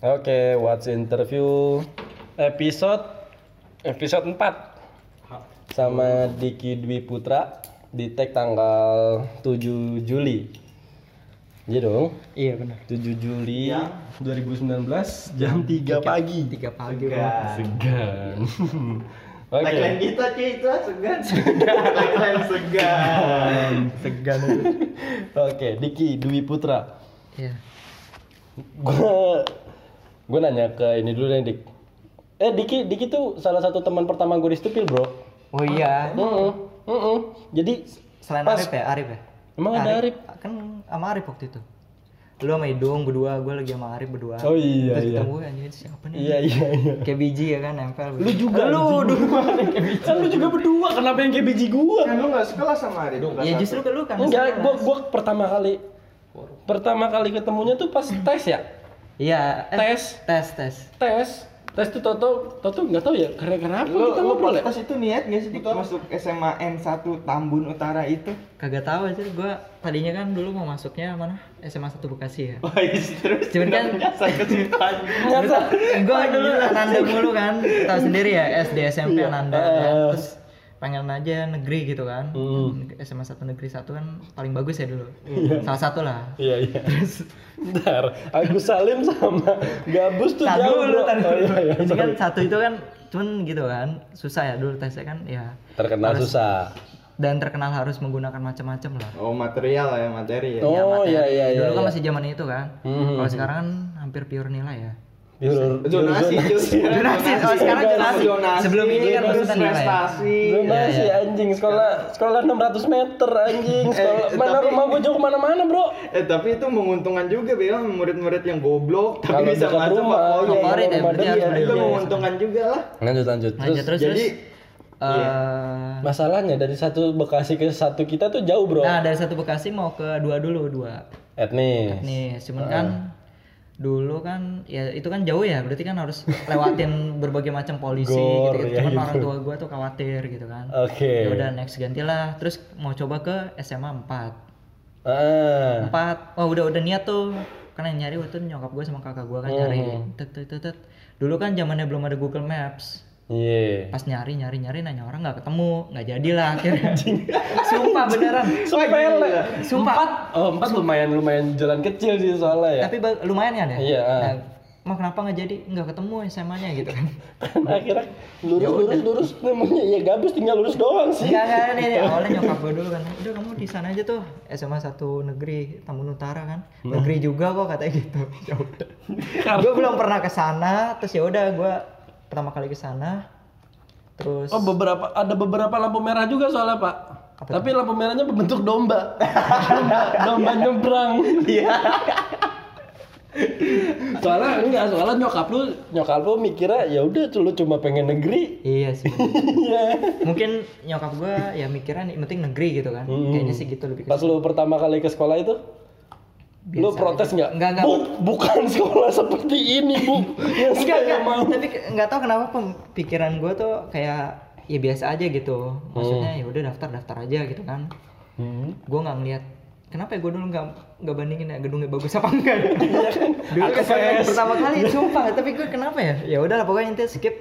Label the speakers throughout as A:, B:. A: Oke, what's interview episode episode 4 sama Diki Dwi Putra di tag tanggal 7 Juli. Iya dong,
B: Iya benar.
A: 7 Juli 2019 jam 3 pagi.
B: Tiga pagi Bang.
C: Segan.
A: Segan. Oke.
C: Tagline kita cuy itu ah, segan. Tagline segan.
B: Segan.
A: Oke, Diki Dwi Putra.
B: Iya.
A: gue gue nanya ke ini dulu deh dik eh Diki Diki tuh salah satu teman pertama gue di Stupil bro
B: Oh iya.
A: Mm-mm, mm-mm. jadi
B: Selain
A: Pas-
B: Arif ya, Arif ya.
A: emang ada Arif
B: Kan sama Arif waktu itu. Lu sama Idung berdua, gue lagi sama Arif berdua.
A: oh iya
B: Terus
A: iya
B: ketemu anjir siapa nih?
A: iya iya iya
B: Kayak biji ya kan nempel.
A: lu juga lu dua kan lu juga berdua kenapa yang kayak biji gue
C: Kan lu enggak sekelas sama Ari.
B: Ya justru ke lu kan.
A: enggak gue gue pertama kali pertama kali ketemunya tuh pas tes ya
B: Iya, eh,
A: tes
B: tes tes.
A: tes tes tuh toto toto nggak tahu ya karena kenapa
C: Lu
A: kita
C: lu
A: ngobrol ya
C: protes itu niat nggak sih Dik, masuk SMA N1 Tambun Utara itu?
B: Kagak tahu aja gue tadinya kan dulu mau masuknya mana? SMA 1 Bekasi ya.
C: Wah, Oh, iya, terus
B: Cuman kan-
C: saya ke situ aja.
B: gue dulu Ananda mulu kan tahu sendiri ya SD SMP Ananda kan.
A: Iya.
B: terus pengen aja negeri gitu kan
A: Hmm.
B: SMA satu negeri satu kan paling bagus ya dulu salah satu lah
A: Iya iya. Ntar Agus Salim sama Gabus tuh
B: Tar
A: jauh
B: dulu,
A: bro.
B: tar
A: Oh,
B: dulu.
A: iya, iya,
B: Jadi kan
A: sorry.
B: satu itu kan cuman gitu kan susah ya dulu tesnya kan ya
A: Terkenal
B: Harus-
A: susah.
B: dan terkenal harus menggunakan macam-macam lah
C: Oh, material ya, materi ya.
A: Oh iya iya iya.
B: dulu kan
A: iya.
B: masih zaman itu kan
A: Hmm.
B: kalau sekarang kan hampir pure nilai ya
A: Jurur-
C: Zonasi,
A: jurur-
C: cuy.
B: Zonasi, oh, sekarang zonasi. Sebelum ini kan
C: terus
B: maksudnya nilai.
C: prestasi.
A: Iya, Zonasi anjing sekolah sekolah 600 meter anjing sekolah
C: Eh,
A: mana
C: tapi-
A: rumah gua jauh kemana mana bro
C: Eh tapi itu menguntungkan juga Bel murid-murid yang goblok tapi
A: Kalau
C: bisa
A: dekat
C: masuk
A: rumah, iya,
C: favorit.
B: Favorit ya,
A: rumah
B: berarti
A: dia.
B: harus beli.
C: Itu
B: Iya,
C: menguntungkan juga lah.
A: lanjut lanjut terus, iya.
B: lanjut terus
C: Jadi
B: terus, eh,
A: masalahnya dari satu Bekasi ke satu kita tuh jauh bro
B: nah dari satu Bekasi mau ke dua dulu dua
A: etnis
B: nih cuman
A: Eh.
B: kan dulu kan ya itu kan jauh ya berarti kan harus lewatin berbagai macam polisi
A: Gor,
B: gitu,
A: ya
B: cuman
A: gitu.
B: orang tua gua tuh khawatir gitu kan
A: oke
B: ya udah next gantilah terus mau coba ke SMA 4
A: ah
B: empat oh udah udah niat tuh karena yang nyari waktu itu nyokap gue sama kakak
A: Oh.
B: gua kan nyari tet, tet, tet, tet. dulu kan zamannya belum ada Google Maps
A: iya
B: pas nyari nyari nyari nanya orang nggak ketemu nggak jadilah akhirnya sumpah beneran
A: Sepele.
B: Sumpah.
A: Empat, oh, empat lumayan lumayan jalan kecil sih soalnya ya.
B: tapi ba- lumayan kan ya
A: Iya, ah.
B: Nah, mah kenapa nggak jadi nggak ketemu SMA-nya gitu kan
A: Akhirnya lurus lurus lurus namanya ya gabus tinggal lurus doang sih.
B: Enggak, enggak, nih, nih. awalnya nyokap gue dulu kan, udah kamu di sana aja tuh SMA satu negeri Tambun Utara kan,
A: Hmm.
B: negeri juga kok katanya gitu. Ya udah. gue belum pernah ke sana, terus ya udah gue pertama kali ke sana, terus
A: Oh beberapa ada beberapa lampu merah juga soalnya pak. Tapi lampu merahnya berbentuk domba. domba, domba nyebrang. Iya. soalnya enggak soalnya nyokap lu nyokap lu mikirnya ya udah tuh lu cuma pengen negeri.
B: iya sih.
A: Iya.
B: Mungkin nyokap gue ya mikirnya yang penting negeri gitu kan,
A: Hmm.
B: kayaknya sih gitu lebih. ke-
A: Pas lu pertama kali ke sekolah itu lu
B: Biasa
A: protes nggak?
B: Enggak, enggak.
A: Bu, bukan sekolah seperti ini, Bu. Yang
B: Enggak,
A: saya
B: enggak.
A: mau.
B: Tapi ke- nggak tahu kenapa pem- pikiran gue tuh kayak ya biasa aja gitu.
A: Oh.
B: Maksudnya ya udah daftar daftar aja gitu kan.
A: Hmm.
B: gue nggak ngeliat kenapa ya gue dulu nggak nggak bandingin ya gedungnya bagus apa enggak ya?
A: Iya kan?
B: dulu
A: Akses.
B: kesana pertama kali sumpah tapi gue kenapa ya ya udahlah pokoknya intinya skip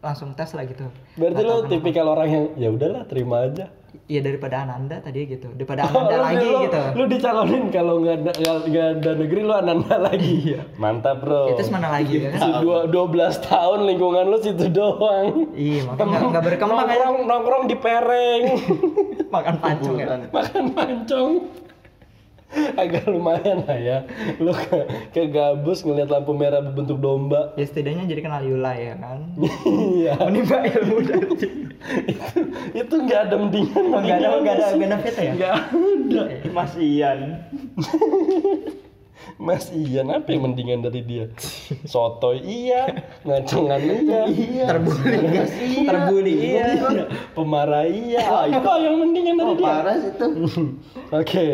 B: langsung tes lah gitu
A: Berarti lo tipikal orang yang ya udahlah terima aja.
B: ya daripada Ananda tadi gitu daripada
A: Oh,
B: Ananda
A: lu-
B: lagi
A: lu,
B: gitu
A: Lu dicalonin kalau nggak ada nggak- nggak ada negeri lu ananda lagi. Mantap bro.
B: Ya, terus mana lagi ya kan?
A: Si dua dua belas tahun lingkungan lu situ doang.
B: iya makanya nggak- nggak berkembang ya
A: nongkrong nongkrong di pereng,
B: makan pancung ya
A: makan pancong. Agak lumayan lah ya. Lu ke, ke gabus ngeliat lampu merah berbentuk domba.
B: ya setidaknya jadi kenal Yula ya kan
A: Iya.
B: menimba ilmu dari
A: Itu nggak ada mendingan.
B: Oh, nggak ada
A: mendingan
B: nggak ada
A: sih?
B: benefit ya
A: Nggak ada.
C: Mas Ian.
A: Mas Ian apa yang mendingan dari dia? Sotoy iya, ngacengan iya,
B: terbuli terbuli
A: iya, pemarah iya. Apa yang mendingan
B: Oh,
A: dari dia?
C: Parah sih itu.
A: Oke.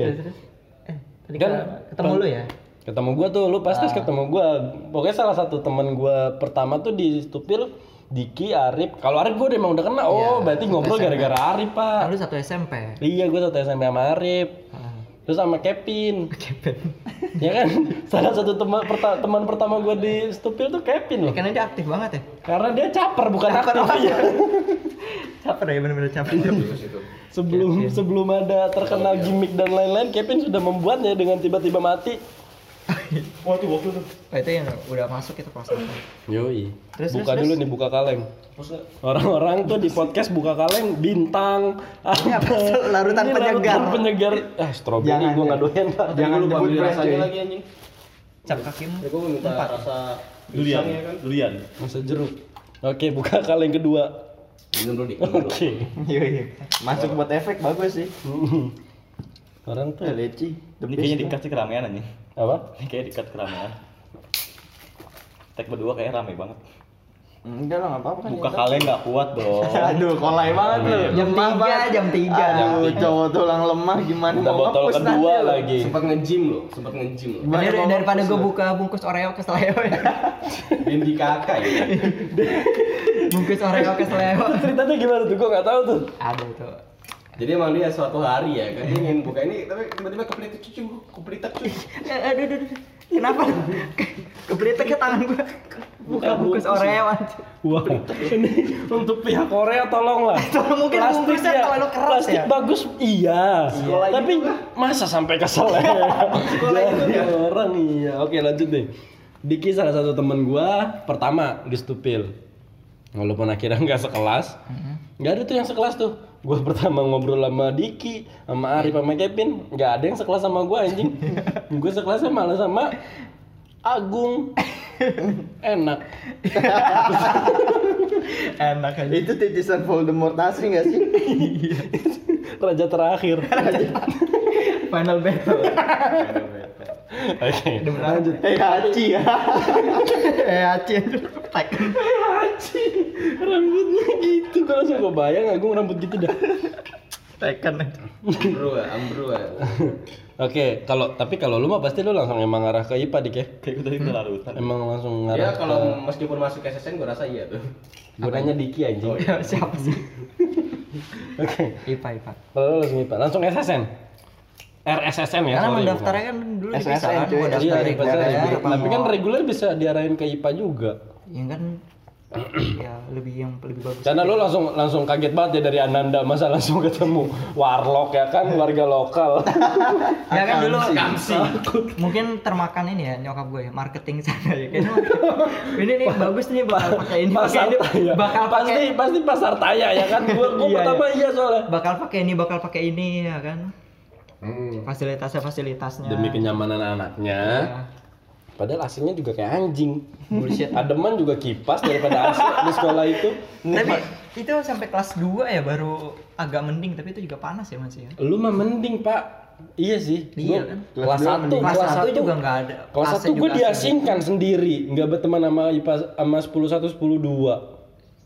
B: eh tadi
A: Kan-
B: ketemu lu ya
A: Ketemu gua tuh, lu pasti ketemu gua. Pokoknya salah satu teman gua pertama tuh di Stupil Diki, Arif. Kalau Arif gua udah emang udah kenal. Oh, berarti ngobrol gara-gara Arif, Pak.
B: kan lu satu SMP
A: Iya, gua satu SMA sama Arif. terus sama Kevin ya kan salah satu teman perta- teman pertama gue di Stupil tuh Kevin loh
B: Karena dia aktif banget ya.
A: karena dia caper bukan
B: Caper
A: aktif
B: banget. Caper ya bener-bener caper.
C: situ.
A: sebelum sebelum ada terkenal gimmick dan lain-lain Kevin sudah membuatnya dengan tiba-tiba mati
C: Wah tuh waktu tuh.
B: Nah, itu yang udah masuk itu pas apa?
A: yoi
B: Terus,
A: buka
B: terus,
A: dulu
B: terus.
A: nih buka kaleng
C: Maksudnya
A: orang-orang tuh di podcast buka kaleng bintang
B: Ini apa? Larutan
A: Ini
B: penyegar.
A: penyegar ah stroberi
B: Jangan,
A: gue
B: ya.
A: nggak doyan pak
C: jangan
B: Jangan
C: lupa
B: nyebut
C: beli
B: brand,
C: rasanya
B: cuy.
C: lagi anjing.
B: Cap kakimu.
C: Ya gue minta
B: Empat.
C: rasa
D: durian
C: pisang ya kan.
D: durian
A: masa jeruk oke buka kaleng kedua
D: minum dulu dik minum
A: oke
D: dulu.
B: Iya iya. Masuk buat efek bagus sih.
A: orang tuh
B: Eh, Leci. The
D: ini kayaknya
B: best.
D: dikasih keramaian anjing
A: apa
D: ini kayaknya dekat keramaian tag berdua kayak rame banget
B: Enggak lah, enggak apa-apa kan.
D: buka kaleng nggak kuat dong
C: Aduh, kolai banget lu.
B: Jam
C: Lemah
B: 3,
C: banget.
B: jam 3.
C: Aduh, cowok tulang lemah
B: Kan
C: gimana
A: Udah botol
D: kan
C: ngapus
A: kedua
C: nanti lu.
A: lagi
D: sempat nge-gym loh sempat nge-gym loh
B: Ini
C: Banyak
B: dari-
C: ngomong
B: daripada
C: terus
B: gue
C: lu.
B: buka bungkus Oreo ke seleo ya.
D: Bindi kakak ya
B: bungkus Oreo ke seleo.
A: ceritanya gimana tuh gue nggak tahu tuh
B: Aduh tuh.
D: jadi emang dia suatu hari ya kan ingin buka ini tapi tiba-tiba kepelit cucu kepelit cucu
B: Eh, Aduh, aduh, aduh. Kenapa? Keberetek ke tangan gue. Buka bungkus Oreo aja.
A: Wah, ini untuk pihak Korea tolonglah.
B: Tolong mungkin bungkusnya
A: ya-
B: terlalu keras
A: plastik
B: ya.
A: bagus iya.
C: Sekolah
A: Tapi
C: itu lah.
A: masa sampai kesel ya?
C: Sekolah itu
A: Jadi
C: ya.
A: orang iya. Oke lanjut nih. Diki salah satu temen gua pertama di Stupil. Walaupun akhirnya nggak sekelas, nggak ada tuh yang sekelas tuh. Gua pertama ngobrol sama Diki, sama Arif, sama Kevin, nggak ada yang sekelas sama gua anjing. gua sekelasnya malah sama Agung. Enak.
B: Enak aja.
C: Itu titisan Voldemort asli gak sih?
A: Raja terakhir.
B: Final battle.
A: Oke.
B: Lanjut.
C: Eh, Haji ya.
B: Eh, Aci. Tekan.
A: Haji, rambutnya gitu. Gue langsung gue bayang Agung rambut gitu dah.
B: Tekan.
D: ambrua ambrua
A: Oke, kalau tapi kalau lu mah pasti lu langsung emang ngarah ke IPA dik ya. Hmm.
D: kayak gue tadi kelarutan
A: Emang langsung
D: ya
A: ngarah.
D: kalau meskipun masuk SSN gue rasa iya tuh
A: Gue nanya Diki anjing. Oke.
B: Ya, Siapa sih? Ipa, Ipa.
A: Kalau lu langsung IPA, langsung SSN. RSSN ya.
B: Karena
A: sorry,
B: mendaftarnya
A: bukan.
B: kan dulu
C: SSN,
B: bisa kan
C: cuy.
B: mau
A: Iya,
B: daftar
A: iya,
B: reguler
A: pasti
B: ya,
A: ada.
B: apa
A: tapi kan
B: mau-
A: reguler bisa diarahin ke IPA juga.
B: yang kan ya lebih yang lebih bagus.
A: Karena lu langsung langsung kaget banget ya dari Ananda masa langsung ketemu warlock ya kan warga lokal.
B: Ya kan dulu
D: Kamsi.
B: mungkin termakan ini ya nyokap gue ya, marketing sana ya. Kayaknya ini nih bagus nih bakal pakai ini pakai
A: pasar
B: ini
A: taya.
B: bakal
A: ya? pasti
B: pakai
A: pasti pasar taya ya kan. Gua, gua
B: Iya, iya.
A: pertama iya soalnya.
B: bakal pakai ini bakal pakai ini ya kan. Fasilitasnya fasilitasnya.
A: Hmm. demi kenyamanan anaknya.
B: Ya.
A: Padahal AC-nya juga kayak anjing.
B: Bullshit.
A: Ademan juga kipas daripada AC di sekolah itu.
B: Tapi itu sampai kelas 2 ya baru agak mending tapi itu juga panas ya masih ya.
A: Lu mah mending, Pak. Iya sih.
B: Iya,
A: Gua
B: kan?
A: Kelas
C: Kelas dua
A: 1,
C: mending.
B: Kelas satu juga nggak ada.
A: Kelas
B: Kelasnya
A: 1 gue
B: juga asing.
A: diasingkan sendiri, nggak berteman sama IPA sama 10 1 10 2.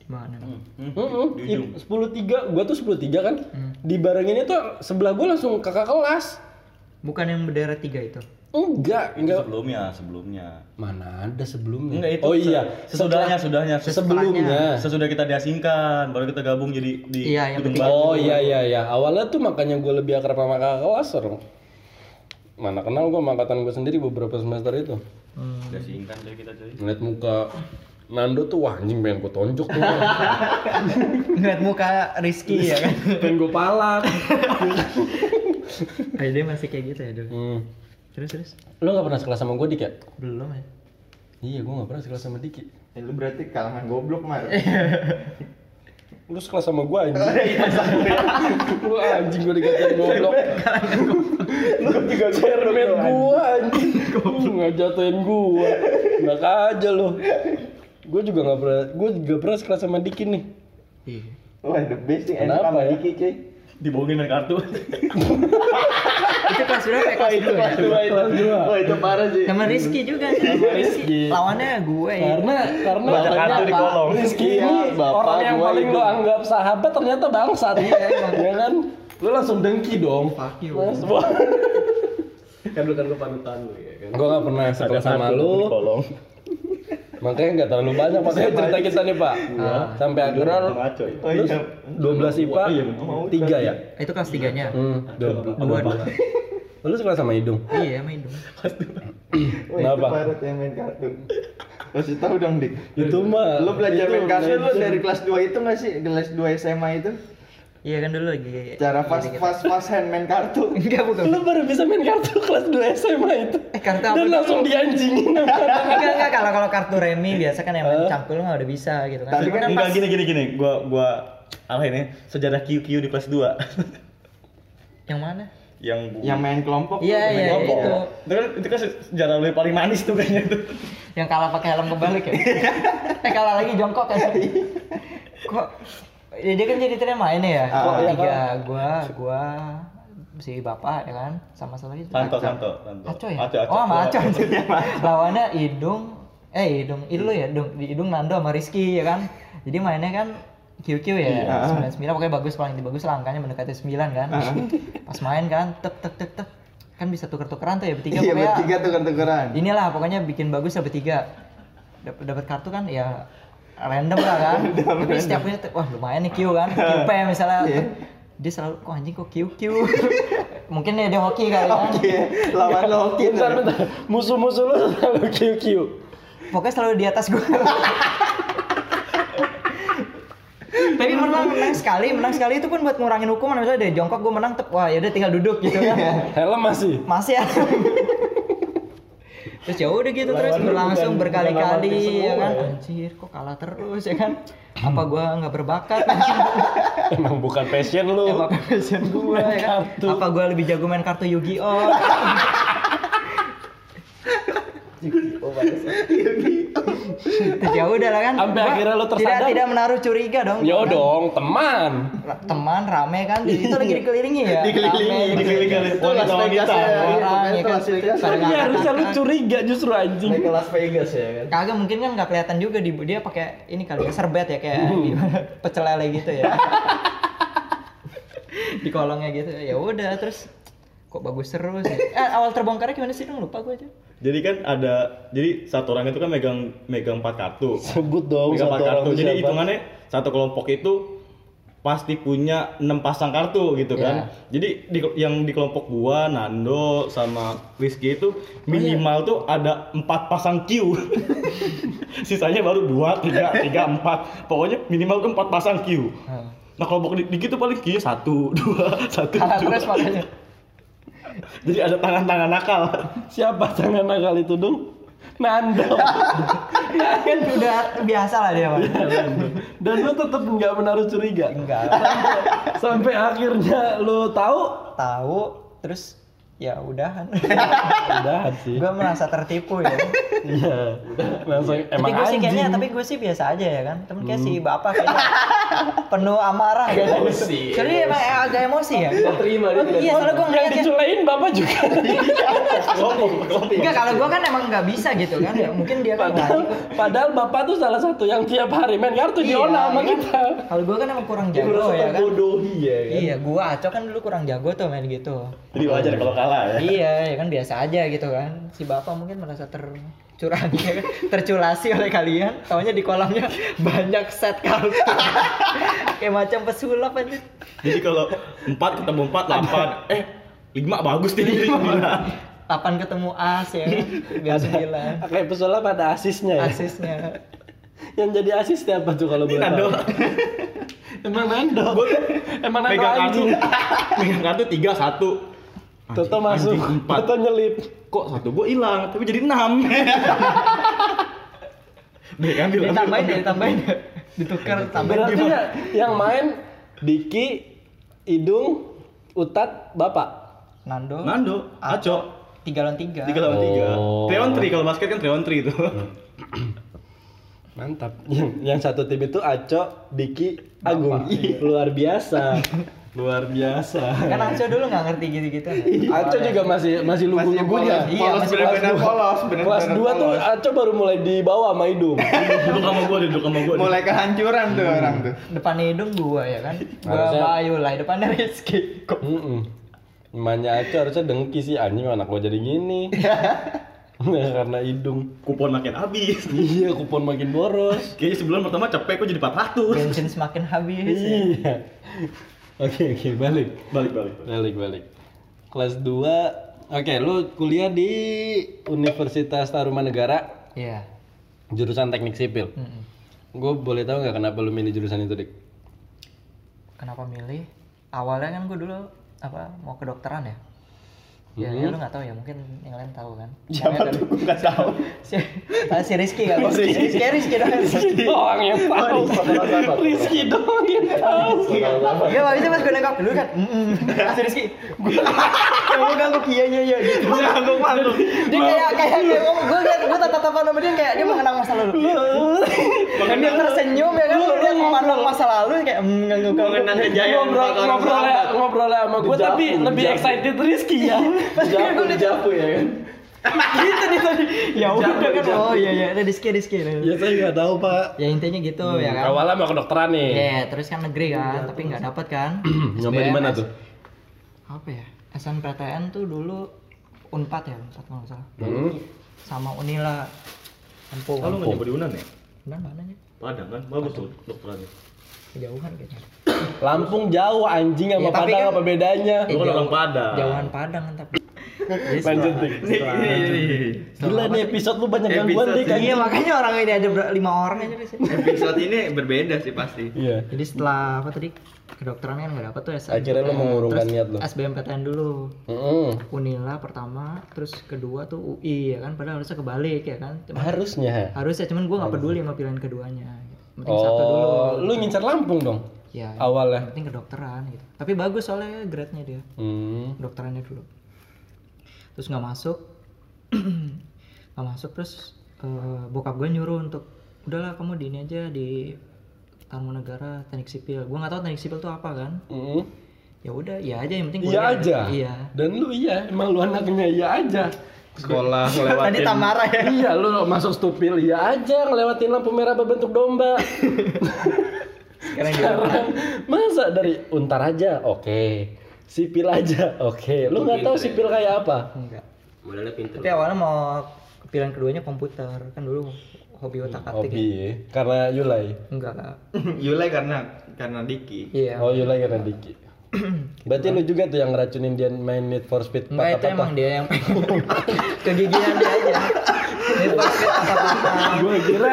B: Gimana?
A: Hmm, Heeh. 10 3, gua tuh 10 3 kan.
B: Hmm.
A: Dibarenginnya tuh sebelah gua langsung kakak kelas.
B: Bukan yang bendera tiga itu.
A: Enggak, enggak
D: sebelumnya sebelumnya
A: Mana ada sebelumnya?
D: Enggak itu.
A: oh
D: se-
A: iya,
D: sesudahnya,
A: Setelah-
D: sudahnya.
A: sebelumnya.
D: Sesudah kita diasingkan, baru kita gabung jadi di
B: Iya, yang
D: gedung
B: penting-
D: baru.
A: Oh iya iya iya. Awalnya tuh makanya gue lebih akrab sama kakak kelas orang. Mana kenal gue sama angkatan gue sendiri beberapa semester itu.
B: Hmm.
D: Diasingkan jadi kita jadi.
A: Ngeliat muka Nando tuh wah anjing pengen gue tonjok tuh.
B: Ngeliat muka Rizky ya kan.
A: pengen gue palak.
B: Ayo dia masih kayak gitu ya dulu.
A: Hmm.
B: Terus terus
A: Lo gak pernah sekelas sama gue Dik ya?
B: belum ya?
A: Iya gue gak pernah sekelas sama Diki.
C: Eh, lu berarti kalangan goblok, Mar.
D: Iya.
A: Lu sekelas sama gue anjing. Lu anjing gue dikatain goblok.
C: Lu juga
A: Cermin gue anjing. Lu gak jatuhin gue. Enak aja lo. Gue juga gak pernah, gue juga pernah sekelas sama Diki nih.
B: Iya.
C: Wah, the best nih
A: Kenapa
C: enak sama
A: ya?
C: Diki, cuy.
D: Dibohongin dari kartu.
B: Itu kelas berapa ya? Kelas
C: itu
B: dua ya?
C: kelas dua itu.
A: Kelas dua.
C: Wah, itu parah sih.
B: Sama Rizky juga. kan? Sama Rizky. Lawannya gue ya.
A: Karena karena
C: Bapak
A: karena
C: kartu di kolong.
A: Rizky
C: Iya,
A: ini
C: bapak
A: orang yang
C: gua
A: paling
C: itu.
A: lo anggap sahabat ternyata bangsat. Iya, ya kan? Lo langsung dengki dong.
B: Fuck you.
A: Mas, gua
D: kan lu kan lu panutan lu ya kan.
A: Gua gak pernah sekelas sama
D: kartu di
A: lo,
D: kolong.
A: makanya gak terlalu banyak makanya cerita kita nih pak.
D: Iya.
A: Sampai akhirnya lo
D: Ngaco itu.
C: Oh, iya.
A: 12 IPA, 3 ya?
B: Itu kelas tiganya.
A: Hmm, 12.
B: Dua dua.
A: Lu sekolah sama hidung.
B: iya main dong
C: Wah, itu
A: Kenapa?
C: Farut yang main kartu. Kasih tahu dong, Dik.
A: Itu mah.
C: Lu belajar
A: itu
C: main kartu lu
A: belajar.
C: dari kelas 2 itu nggak sih? Kelas 2 SMA itu?
B: iya kan dulu lagi
C: Cara fast fast fast hand main kartu.
B: enggak bukan
A: Lu baru bisa main kartu kelas 2 SMA itu.
B: eh kartu apa
A: Dan
B: tuh?
A: langsung dianjingin sama
B: enggak enggak kalau kalau kartu remi biasa kan yang main cangkul mah udah bisa gitu kan
C: Tapi
B: Cuma
C: kan
E: Enggak gini gini gini, gua gua alahin ya sejarah QQ di kelas 2
B: yang mana
E: yang bu-
C: yang main kelompok.
B: iya
C: lu main
B: iya
C: kelompok.
B: itu
E: itu kan itu kan sejarah lu yang paling manis tuh kayaknya tuh.
B: yang kalah pakai helm kebalik ya eh kalah lagi jongkok kan kok ya dia kan jadi tren main ya
C: Ah, iya,
B: tiga gua gua si bapak ya kan sama satu lagi Aco.
E: Santo, Santo, Santo.
B: Aco ya
E: Aco, Aco.
B: oh sama Aco
E: Aco.
B: anjir. lawannya hidung eh hidung itu lo ya hidung di hidung Nando sama Rizky ya kan jadi mainnya kan QQ ya, sembilan sembilan pokoknya bagus paling bagus lah angkanya mendekati sembilan kan, pas main kan, tek tek tek tek, kan bisa tuker tukeran tuh ya bertiga
C: Iya,
B: pokoknya
C: bertiga tuker-tukeran.
B: inilah pokoknya bikin bagus ya dapat tiga dapat dapat kartu kan ya random lah kan tapi setiap punya tuh, wah lumayan nih Q kan QP misalnya
C: Iya.
B: dia selalu kok anjing kok QQ mungkin ya dia hoki kali kan
C: Oke, lawan
A: Iya.
C: lo oke.
A: Bentar, bentar. Musuh-musuh lu selalu QQ.
B: pokoknya selalu di atas gue tapi menang menang sekali menang sekali itu pun buat ngurangin hukuman misalnya dari jongkok gue menang tep wah yaudah tinggal duduk gitu kan
A: Helm masih.
B: masih ya terus ya udah gitu terus
A: Lawan lu
B: berlangsung
A: bukan-
B: berkali-kali
A: bukan amatir
B: ya
A: semua
B: kan
A: ya.
B: anjir kok kalah terus ya kan apa gua nggak berbakat
A: Emang bukan passion lu.
B: apa passion gua
A: Main
B: ya kan
A: kartu.
B: apa gua lebih jago main kartu Yu-Gi-Oh Terus ya udah lah kan
A: Sampai
B: Gua
A: akhirnya lu
B: tidak
A: tersadar.
B: tidak menaruh curiga dong
A: Ya
B: Gua kan
A: dong, teman.
B: ra- teman rame kan itu lagi
A: Iya.
B: dikelilingi ya
C: Dikelilingi,
B: rame,
E: dikelilingi.
C: Itu Las Vegas ya.
B: orang, ya
C: Pokoknya itu
B: kan?
C: Las Vegas.
B: Pada
A: Tapi Iya, harusnya lu
B: ngangkat-ngangkat.
A: curiga justru anjing.
C: Naik ke Las Vegas ya kan.
B: Kagak mungkin kan nggak kelihatan juga di dia pakai ini kali ya, serbet ya kayak
A: Hmm.
B: gimana, pecel lele gitu ya. di kolongnya gitu ya udah terus kok bagus terus ya. eh, awal terbongkarnya gimana sih dong lupa gue aja
E: Jadi kan ada jadi satu orang itu kan megang megang empat kartu.
A: Sebut dong
E: Megang empat
A: satu orang
E: kartu. Jadi
A: siapa.
E: hitungannya satu kelompok itu pasti punya enam pasang kartu gitu
A: Iya.
E: kan. Jadi di, yang di kelompok gua, Nando sama
A: Oh,
E: Rizky itu
A: iya.
E: minimal tuh ada empat pasang Q. Sisanya baru dua, tiga, tiga, empat. Pokoknya minimal tuh empat pasang
A: Iya.
E: Q.
B: Hmm.
E: Nah kelompok di, dikit tuh paling Q satu, dua, satu,
B: kalah
A: Iya.
E: dua.
B: terus makanya
E: Jadi ada tangan-tangan nakal.
A: Siapa tangan nakal itu dong? Nando.
B: kan udah biasa lah dia Pak.
A: Dan lu tetap nggak menaruh curiga.
B: enggak
A: Sampai akhirnya lu tahu
B: tahu terus ya udahan
A: udah sih.
B: gue merasa tertipu ya
A: Iya. Langsung emang
B: tapi gue sih
A: anjing.
B: kayaknya tapi gue sih biasa aja ya kan temen kayak si bapak kayaknya penuh amarah gitu
D: Emosi,
B: jadi emang agak emosi ya
D: Dia terima dia tidak
B: iya soalnya gue
A: yang
B: ngeliat ya
A: diculain bapak juga.
B: Enggak, kalau gua kan emang nggak bisa gitu kan. Ya, mungkin dia kan
A: padahal,
B: nggak-
A: padahal bapak tuh salah satu yang tiap hari main kartu
B: Iya,
A: Diona sama
B: iya.
A: kita.
B: Kalau gua kan emang kurang
C: Dia
B: jago ya
C: merasa
B: kan.
C: terbodohi ya kan.
B: Iya, gua Aco kan dulu kurang jago tuh main gitu.
E: Jadi wajar kalau kalah ya.
B: iya, ya kan biasa aja gitu kan. Si bapak mungkin merasa tercurangi, ya kan? terculasi oleh kalian. Taunya di kolamnya banyak set kartu. Kayak macam pesulap aja.
E: Jadi kalau 4 ketemu 4 8. Eh, 5 bagus nih jadi 9.
B: Papan ketemu as ya kan. Biar sembilan.
A: Kayak pesulap ada asisnya ya.
B: Asisnya.
A: Yang jadi asis siapa tuh kalau boleh
E: Nando.
A: tahu? Emang Nando. Emang Nando
E: Megang kartu.
A: anjing.
E: Megang kartu 3 1.
A: Toto masuk. Toto nyelip.
E: Kok satu gua hilang, tapi jadi 6. Nih kan bilang.
B: Ditambahin ya, ditambahin ya. Ditukar, tambahin.
A: Berarti ya, yang main Diki, Idung, Utat, Bapak.
B: Nando.
E: Nando, Aco.
B: Tiga lawan tiga.
E: 3 lawan 3. 3 on 3 kalau basket kan 3 on 3 itu.
A: Mantap. Yang, yang satu tim itu Aco, Diki, Agung. Ih, Iya. Luar biasa. Luar biasa.
B: Kan Aco dulu nggak ngerti gitu-gitu.
A: Aco juga masih masih lugu-lugunya.
C: Masih polos,
A: Iya, masih
C: bener-bener
A: kelas dua.
C: polos,
A: Kelas
C: bener-bener
A: 2 tuh
C: polos.
A: Aco baru mulai dibawa sama Idung.
E: Duduk sama gua, duduk sama gua.
C: Mulai kehancuran tuh
B: Hmm.
C: orang tuh.
B: Depannya hidung gua ya kan. Gua
A: Harusnya-
B: Bayu lah, depannya Rizky. Kok
A: Mm-mm. Emaknya Aco harusnya dengki sih anjing anak gua jadi gini. Nah, karena hidung.
E: Kupon makin habis.
A: Iya, kupon makin boros.
E: Kayaknya sebulan pertama capek kok jadi 400.
B: bensin semakin habis. ya.
A: iya. Oke, oke, balik.
E: Balik balik.
A: Balik, balik. Kelas 2 Oke, lu kuliah di Universitas Tarumanegara
B: Iya.
A: jurusan Teknik Sipil.
B: Mm-mm.
A: Gue boleh tahu nggak kenapa lu milih jurusan itu, Dik?
B: Kenapa milih? Awalnya kan gue dulu apa mau kedokteran ya. Ya, ya lu nggak tahu ya mungkin yang lain tahu kan. Siapa tuh? Gue nggak tahu. si, ah, si Rizky kan. Si Rizky, Rizky dong.
A: doang yang tahu. Rizky doang yang tahu.
B: Iya, habis itu pas gue nengok dulu kan. Mm Si Rizky. Gue gue ngangguk iya iya iya gitu. Gue ngangguk ngangguk. Dia kayak kayak kayak ngomong gue liat gue tatap-tatapan sama dia kayak dia mengenang masa lalu. Makanya dia tersenyum ya kan. Lu liat mengenang masa lalu kayak mm ngangguk ngangguk.
C: Mengenang
A: Ya,
C: kejayaan
A: Ngobrol
C: orang
A: ngobrol ya-
C: sahabat.
A: ngobrol sama gue tapi lebih excited Rizky ya.
B: Pas gue
D: Japu,
B: liat
D: japu ya kan.
B: gitu nih tadi. Ya udah kan. Oh iya iya ada Rizky Rizky.
A: Ya saya nggak tahu Pak.
B: Ya intinya gitu ya kan.
A: Awalnya mau kedokteran nih. Hmm,
B: Ya, terus kan negeri kan, tapi nggak dapat kan.
A: Nyoba di mana
B: SBM,
A: tuh?
B: Apa ya? SNPTN tuh dulu Unpad ya, Unpad kalau nggak salah.
A: Hmm.
B: Sama Unila. Tempo.
E: Kalau nggak nyoba di Unan ya?
B: Benar mana ya?
E: Padang kan bagus tuh dokterannya.
B: Kejauhan kayaknya.
A: Lampung jauh anjing sama
B: Ya, tapi
A: Padang
B: kan-
A: apa bedanya?
E: Lu kan
B: jauh-
E: orang Padang.
B: Jauhan Padang kan tapi. Jadi
A: Lanjut
B: setelah-
A: dik. Gila
B: Setelah
A: nih episode lu banyak gangguan
C: Episode
A: dik. anjing.
B: Iya makanya orang ini ada ber- lima orang aja di sini.
C: Episode ini berbeda sih pasti.
A: Iya.
B: Jadi setelah apa tadi kedokteran kan nggak dapat tuh SNPTN.
A: Akhirnya lu mengurungkan
B: Terus
A: niat lu.
B: SBMPTN dulu.
A: Gitu. Hmm, Mm-mm.
B: Unila pertama, terus kedua tuh UI ya kan, padahal harusnya kebalik ya kan. Cuma
A: Harusnya.
B: harusnya cuman gue nggak peduli sama pilihan keduanya gitu. Yang penting satu dulu
A: Oh, lu ngincer Lampung dong
B: ya yang
A: awalnya.
B: penting kedokteran gitu tapi bagus soalnya grade-nya dia
A: Hmm.
B: kedokterannya dulu terus nggak masuk nggak masuk terus eh, bokap gue nyuruh untuk udahlah kamu di ini aja di Tarumanegara teknik sipil gue nggak tahu teknik sipil tuh apa kan
A: Mm-mm.
B: ya udah ya aja yang penting
A: Iya
B: kuliah.
A: aja.
B: iya
A: Dan lu iya, emang lu anaknya iya aja.
C: Sekolah
A: Kan
B: tadi
C: ngelewatin
B: Tamara ya
A: iya, lu masuk stupil iya aja ngelewatin lampu merah berbentuk domba.
B: sekarang dia
A: Sekarang masa dari untar aja, oke. Sipil aja, oke. Lu nggak tahu sipil kayak apa?
B: enggak
D: Modelnya pinter.
B: tapi awalnya mau pilihan keduanya komputer kan dulu hobi otak atik
A: Hobi ya. Karena Yulai.
B: enggak enggak
C: Yulai karena karena Diki.
B: iya
A: Oh Yulai karena Diki. Berarti lu juga tuh yang ngeracunin dia main Need for Speed
B: Enggak itu
A: patah-patah.
B: emang dia yang kegigilan dia aja. Dia pasti patah-patah.
A: Gua kira,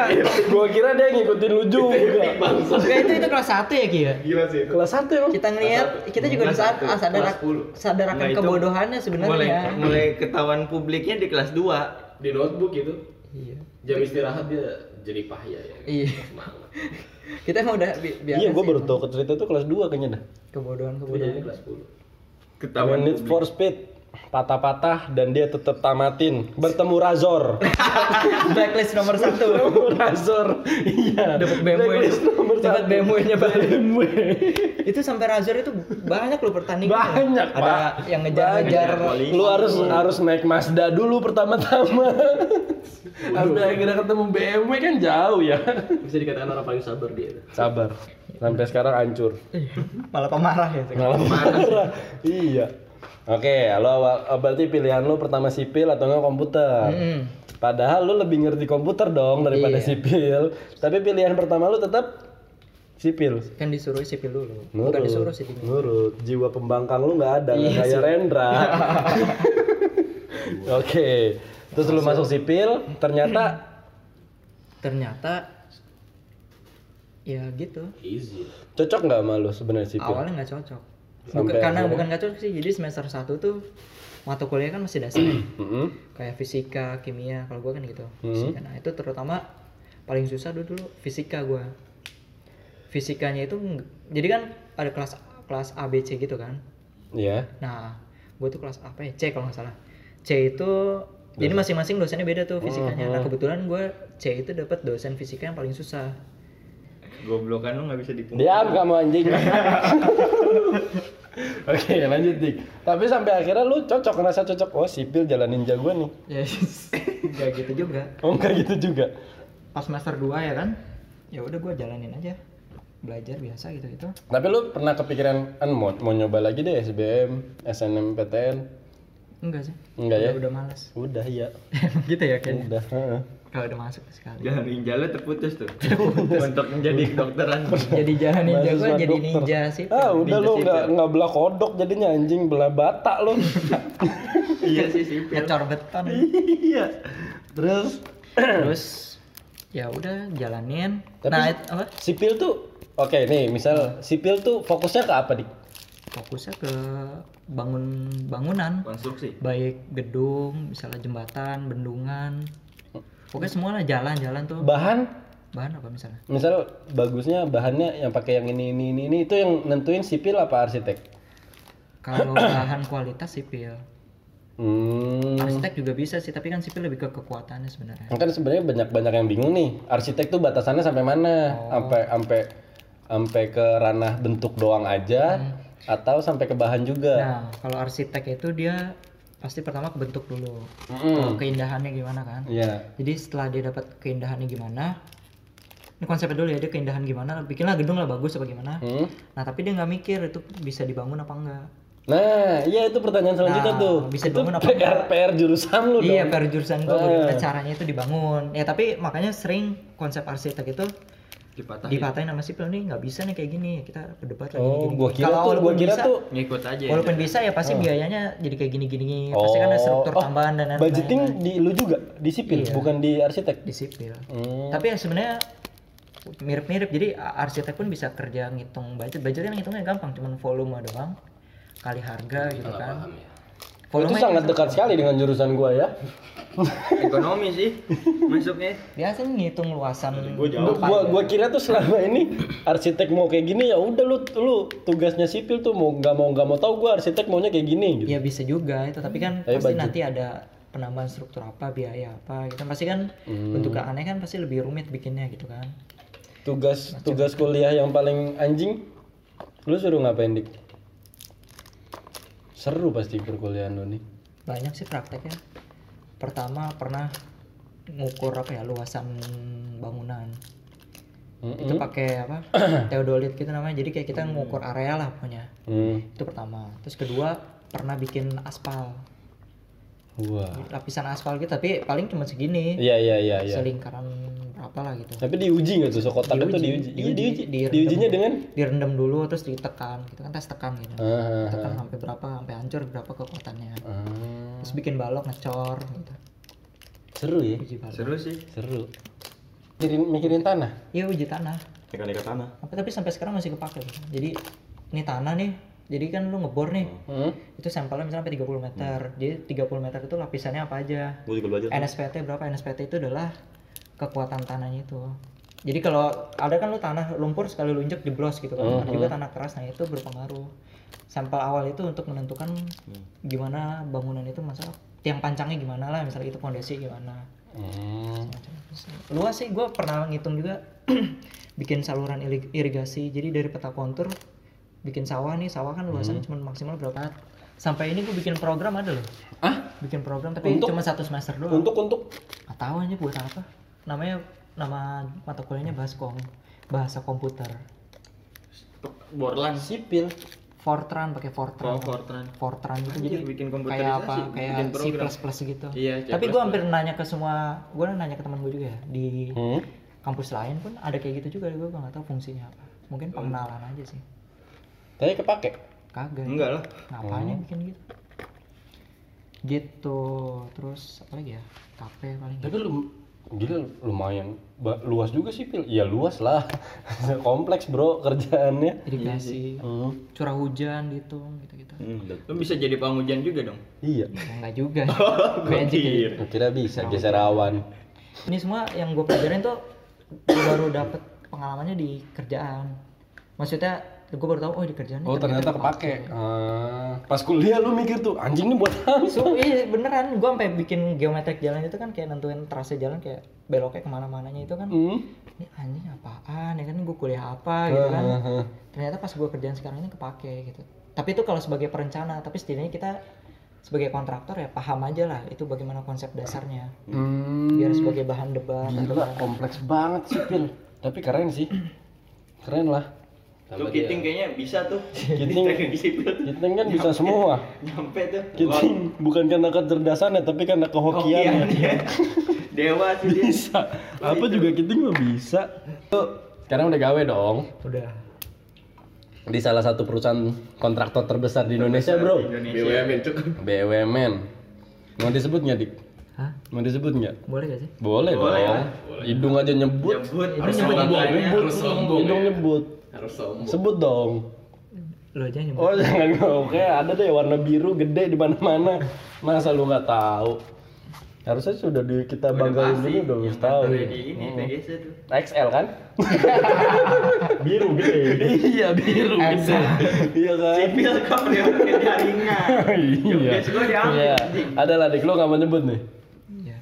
A: gua kira dia ngikutin lu juga.
B: Enggak itu itu kelas satu ya Kia.
C: Gila sih itu.
A: Iya. Kelas satu emang.
B: Kita ngelihat kita juga di saat ah, sadar
C: kelas sepuluh.
B: sadar akan
C: Enggak, itu
B: kebodohannya
C: Mulai
B: sebenarnya. ya.
C: mulai ketahuan publiknya di kelas 2.
D: Di notebook itu
B: Iya.
D: jam istirahat dia jadi pahaya ya. kan?
B: Iya.
D: Semangat.
B: Kita emang udah bi biasa.
A: Iya, gua
B: sih
A: baru
B: emang.
A: tau Iya, ke cerita tuh kelas 2 kayaknya dah.
D: Itu jadi
B: Kebodohan-kebodohan.
D: kelas 10.
A: Main
C: Ketahuan
A: Need
C: publik.
A: for Speed patah-patah dan dia tetap tamatin bertemu Razor
B: Blacklist nomor satu.
A: Razor iya
B: Dapat BMW.
A: Blacklist nomor
B: Dapat
A: satu.
B: BMW-nya balik.
A: BMW.
B: itu sampai Razor itu banyak loh pertandingan.
A: banyak
B: Ada
A: Pak.
B: yang ngejar-ngejar
D: ya,
A: Banyak. lu harus harus naik Mazda dulu pertama-tama sampai akhirnya ketemu BMW kan jauh ya
D: Bisa dikatakan orang paling sabar dia.
A: sabar sampai sekarang hancur
B: Eh, malah pemarah ya.
A: malah marah iya Oke, lo awal- oh, berarti pilihan lo pertama sipil atau enggak komputer.
D: Hmm.
B: Mm.
A: Padahal lu lebih ngerti komputer dong daripada
B: Iya.
A: sipil. Tapi pilihan pertama lu tetap sipil.
B: Kan disuruh sipil dulu.
A: Nurut.
B: Bukan disuruh sipil.
A: Nurut. Jiwa pembangkang lu nggak ada, nggak kayak Rendra. Oke. Terus lu masuk sipil, ternyata
B: ternyata ya gitu
D: Easy.
A: cocok nggak sama lu sebenarnya sipil?
B: awalnya nggak cocok Bukan,
A: Sampai
B: karena
A: akhirnya.
B: bukan nggak cocok sih jadi semester 1 tuh mata kuliah kan masih dasar ya.
A: Mm-mm.
B: kayak fisika kimia kalau gua kan gitu
A: Hmm.
B: fisika. nah itu terutama paling susah dulu dulu fisika gua fisikanya itu nggak- jadi kan ada kelas kelas A B C gitu kan
A: Iya.
B: nah gua tuh kelas apa ya C kalau nggak salah C itu jadi masing-masing dosennya beda tuh
A: Oh,
B: fisikanya. Nah kebetulan gua C itu dapat dosen fisika yang paling susah.
C: Goblokan lu nggak bisa dipungkiri.
A: Diam kamu anjing. Oke, lanjut dik. Tapi sampai akhirnya lu cocok ngerasa cocok. Oh, sipil jalanin jagoan nih.
B: Yes. Gak Ya, gitu juga.
A: Oh, enggak gitu juga.
B: Pas semester 2 ya kan. Ya udah gua jalanin aja. Belajar biasa gitu, gitu-gitu.
A: Tapi lu pernah kepikiran "An, mau, mau nyoba lagi deh SBM, SNMPTN?
B: Enggak sih.
A: Enggak ya? Oh.
B: Udah, udah males.
A: Udah, iya.
B: gitu ya kayaknya.
A: Udah. heeh.
B: kalau udah masuk sekali
C: Jalan ninjala terputus tuh. Untuk menjadi kedokteran.
B: jadi jalan ninja
A: Mahasiswa
B: gue jadi
A: dokter.
B: ninja sih
A: Ah, udah
C: Ninja
A: lu
C: sipil.
A: nggak nggak belah kodok jadinya anjing belah bata lu.
C: Iya sih sipil.
B: ngecor beton
A: Iya. Terus
B: terus ya udah jalanin
A: Tapi-
B: nah it- apa
A: sipil tuh oke nih misal sipil tuh fokusnya ke apa dik?
B: fokusnya ke bangun bangunan
C: Konstruksi.
B: baik gedung misalnya jembatan bendungan pokoknya semua lah jalan-jalan tuh
A: Bahan
B: bahan apa misalnya
A: misal bagusnya bahannya yang pakai yang ini ini ini ini itu yang nentuin sipil apa arsitek?
B: kalau bahan kualitas sipil
A: Hmm.
B: arsitek juga bisa sih tapi kan sipil lebih ke kekuatannya sebenarnya
A: Kan sebenarnya banyak-banyak yang bingung nih. Arsitek tuh batasannya sampai mana? Sampai sampai sampai ke ranah bentuk doang aja atau sampai ke bahan juga?
B: nah kalau arsitek itu dia pasti pertama ke bentuk dulu
A: Mm-mm.
B: keindahannya gimana kan
A: Hmm, Iya.
B: jadi setelah dia dapat keindahannya gimana ini konsepnya dulu ya dia keindahan gimana bikinlah gedung lah bagus apa gimana
A: Hmm.
B: nah tapi dia nggak mikir itu bisa dibangun apa enggak
A: Nah, iya itu pertanyaan selanjutnya
B: Nah,
A: tuh.
B: bisa
A: itu
B: dibangun apa
A: PR
B: enggak?
A: PR jurusan lu
B: Iya,
A: dong.
B: per jurusan gua
A: Eh.
B: bagaimana caranya itu dibangun. Ya tapi makanya sering konsep arsitek itu
C: Dipatahin.
B: dipatahin sama sipil nih nggak bisa nih kayak gini. Kita berdebat lagi
A: Oh,
B: gini.
A: gua kira
B: Kalau
A: tuh, gua
B: walaupun
A: kira
B: bisa, ya
A: tuh Eh.
C: Ngikut aja.
B: walaupun bisa ya pasti biayanya jadi kayak gini-gini. gini. Pasti kan ada struktur
A: Oh,
B: tambahan dan lain-lain.
A: budgeting di lu juga di sipil,
B: Iya.
A: bukan di arsitek.
B: di sipil.
A: Hmm.
B: Tapi ya sebenarnya mirip-mirip. Jadi a- arsitek pun bisa kerja ngitung budget. Budget kan ngitungnya gampang, cuman volume doang kali harga gitu kan.
A: ya. itu
B: Volume
A: sangat dekat sekali dengan jurusan gua ya.
C: Ekonomi sih masuknya.
B: biasanya ngitung luasan
E: Gua jauh.
B: depan.
A: gua gua kira tuh selama ini arsitek mau kayak gini ya udah lu lu tugasnya sipil tuh mau nggak mau nggak mau tahu gua arsitek maunya kayak gini gitu.
B: Ya bisa juga itu, tapi kan
A: Tapi
B: pasti
A: budget.
B: nanti ada penambahan struktur apa, biaya apa gitu. kan. Pasti kan
A: Hmm.
B: bentuk aneh kan pasti lebih rumit bikinnya gitu kan.
A: Tugas tugas kuliah yang paling anjing lu suruh ngapain dik? Seru pasti perkuliahan lu nih.
B: Banyak sih prakteknya. Pertama pernah ngukur apa ya luasan bangunan. Itu
A: Mm-mm.
B: pakai apa? Teodolit gitu namanya. Jadi kayak kita ngukur area lah punya.
A: Hmm.
B: Itu pertama. Terus kedua pernah bikin aspal.
A: Wah.
B: Lapisan aspal gitu tapi paling cuma segini.
A: Iya iya iya iya.
B: Selingkaran berapa lah gitu.
A: Tapi diuji nggak tuh sekotak itu diuji? Iya diuji.
B: direndam.
A: Diujinya dengan
B: direndam dulu terus ditekan gitu kan tes tekan gitu
A: Ah,
B: tekan sampai berapa sampai hancur berapa kekuatannya
A: ah.
B: terus bikin balok ngecor gitu
A: seru ya,
B: uji balok
C: Seru sih.
A: seru. Mikirin, mikirin tanah.
B: iya uji tanah
E: Teka-teka tanah.
B: tapi, tapi sampai sekarang masih kepake gitu. jadi ini tanah nih jadi kan lu ngebor nih
A: Hmm.
B: itu sampelnya misalnya sampai 30 meter jadi 30 meter itu lapisannya apa aja
E: Gue juga
A: Gitu.
E: belajar.
B: NSPT berapa NSPT itu adalah kekuatan tanahnya itu jadi kalau ada kan lu tanah lumpur sekali lu injek jeblos gitu kan
A: Uh-huh.
B: ada juga tanah keras nah itu berpengaruh sampel awal itu untuk menentukan
A: Hmm.
B: gimana bangunan itu masalah tiang pancangnya gimana lah misalnya itu fondasi gimana
A: Hmm.
B: luas sih gue pernah ngitung juga bikin saluran ilig- irigasi jadi dari peta kontur bikin sawah nih sawah kan luasannya
A: Hmm.
B: cuma maksimal berapa sampai ini gue bikin program ada loh
A: Ah?
B: bikin program tapi
A: Untuk-
B: cuma satu semester doang
A: Untuk untuk
B: Gak tahu aja buat apa. Namanya nama mata kuliahnya Baskom, bahasa komputer.
C: Borlan.
A: sipil.
B: Fortran pakai Fortran.
C: Oh, Fortran.
B: Fortran itu
C: Anjir,
B: jadi
C: bikin komputerisasi,
B: kayak apa? Kayak
C: bikin
B: C++
C: program.
B: gitu.
C: Iya, C++.
B: Tapi gue hampir nanya ke semua, gue nanya ke teman gue juga ya di
A: Hmm.
B: kampus lain pun ada kayak gitu juga. Gue gak tahu fungsinya apa. Mungkin
C: Oh.
B: pengenalan aja sih.
A: Tapi kepake.
B: Kagak.
C: Enggak lah.
B: Ngapain ya bikin gitu? Gitu. Terus apa lagi ya? Kafe paling. gitu.
A: Tapi lu gila lumayan Ba- luas juga sipil. Iya luas lah. Kompleks bro kerjaannya.
C: Iya
B: Irigasi,
A: Hmm.
B: curah hujan gitu, gitu-gitu.
C: Lu bisa jadi penghujan juga dong.
A: Iya.
B: Ya, Enggak juga. Magic ya.
A: Oh, Gua Kira bisa geser awan.
B: Ini semua yang gue pelajarin tuh gua baru dapet pengalamannya di kerjaan. Maksudnya gue baru tahu oh di kerjaan. ini
A: Oh ternyata kepake. Ah, pas kuliah lu mikir tuh anjing ini buat apa?
B: So, iya beneran gue sampai bikin geometrik jalan itu kan kayak nentuin trase jalan kayak beloknya kemana-mananya itu kan
A: Hmm.
B: ini anjing apaan ya kan gue kuliah apa gitu kan
A: Heeh.
B: ternyata pas gue kerjaan sekarang ini kepake gitu tapi itu kalau sebagai perencana tapi setidaknya kita sebagai kontraktor ya paham aja lah itu bagaimana konsep dasarnya
A: Hmm.
B: biar sebagai bahan debat atau
A: Gila, kompleks banget sih, Pil. Tapi keren sih. Keren lah.
C: Tuh kiting kayaknya bisa tuh.
A: Kiting.
C: di sipil tuh.
A: Kita kan bisa semua.
C: Nyampe tuh.
A: Kita bukan karena kecerdasannya, tapi karena kehokiannya.
C: Hokian ya. Dewa sih
A: Oh,
C: dia.
A: iya, bisa apa juga kita nggak bisa tuh sekarang udah gawe dong
B: udah
A: di salah satu perusahaan kontraktor terbesar di Indonesia bro
C: Indonesia.
D: BUMN cukup.
A: BUMN mau disebut nggak dik
B: Hah?
A: mau disebut nggak
B: boleh gak sih
A: boleh,
C: Boleh
A: dong
C: lah,
A: hidung aja nyebut
C: Nyebut.
D: Harus
C: nyebut
D: sombong,
C: nyebut.
D: harus sombong.
A: hidung
D: ya.
A: nyebut
D: Harus sombong.
A: sebut dong
B: lo aja nyebut
A: oh jangan oke ada deh warna biru gede di mana mana masa lu nggak tahu harusnya sudah di, kita banggain dulu dong
C: Yang
A: tahu
C: kantornya di ini PGC tuh.
A: XL kan
E: biru gede
A: iya biru gede iya kan
C: Sipil kok dia pakai ya, jaringan.
A: iya.
C: Joget gua diambil.
A: Iya. Ada lah dik lo nggak mau nyebut nih.
B: Iya.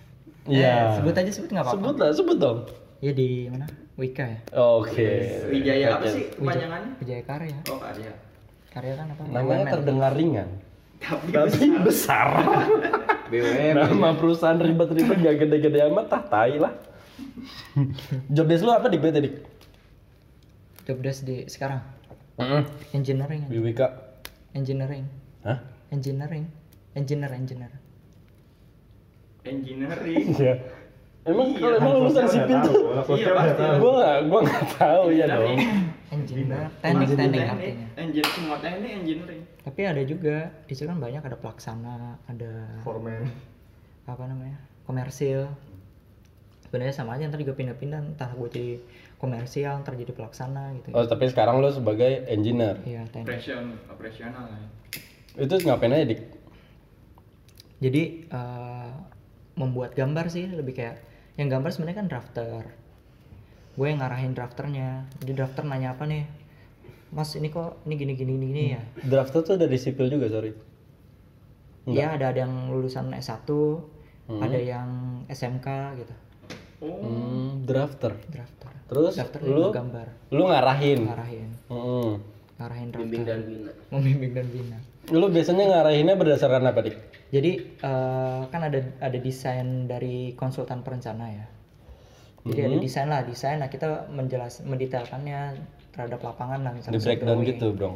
A: Iya.
B: Eh, sebut aja sebut nggak apa-apa
A: Sebut lah, sebut dong.
B: ya di mana Wika ya
A: Oke.
C: Wijaya apa
A: Oke.
C: sih kepanjangannya?
B: Berjaya Karya
C: Oh, karya.
B: karya kan apa
A: Namanya
B: Woman.
A: terdengar ringan.
C: Tapi
A: Tapi besar.
D: BUMN.
A: Nama perusahaan ribet-ribet gak gede-gede amat tah tai lah. Jobdesk lu apa dik bete dik?
B: jobdesk di sekarang
A: Heeh.
B: engineering aja.
A: BWK.
B: engineering
A: Hah?
B: engineering engineer engineer
C: engineering.
A: Iya. kan Emang kalau emang lulusan sipil tuh
C: Iya, pasti.
A: gua nggak gua nggak tahu ya dong.
B: engineer teknik teknik
C: Teknik,
B: artinya
C: engineer semua teknik engineering.
B: tapi ada juga di situ kan banyak ada pelaksana ada
E: formen
B: apa namanya komersil sebenarnya sama aja ntar juga pindah-pindah entah gue jadi komersial ntar jadi pelaksana gitu
A: Oh, tapi sekarang lu sebagai engineer.
D: Hmm,
B: iya teknik
C: Operation, operasional lah. ya.
A: Itu ngapain aja dik?
B: jadi eh, membuat gambar sih lebih kayak yang gambar sebenarnya kan drafter gue yang ngarahin drafternya jadi drafter nanya apa nih mas ini kok ini gini gini gini, gini
D: Hmm.
B: ya
A: Drafter tuh dari sipil juga, sorry.
B: Iya ada ada yang lulusan S1,
D: Hmm.
B: ada yang SMK gitu,
C: Oh,
A: Hmm, drafter.
B: drafter.
A: Terus
B: Drafter
A: lu
B: lu gambar,
A: lu ngarahin.
B: ngarahin,
A: Mm-mm.
B: ngarahin drafter,
D: Bimbing dan bina.
B: membimbing dan bina.
A: Lu biasanya ngarahinnya berdasarkan apa, Dik?
B: Jadi eh, kan ada ada desain dari konsultan perencana ya. Jadi ada
A: Mm-hmm.
B: desain lah, desain. Nah kita menjelas mendetailkannya terhadap lapangan lah
A: Di
B: misalnya.
A: breakdown
B: drawing.
A: gitu, Bro.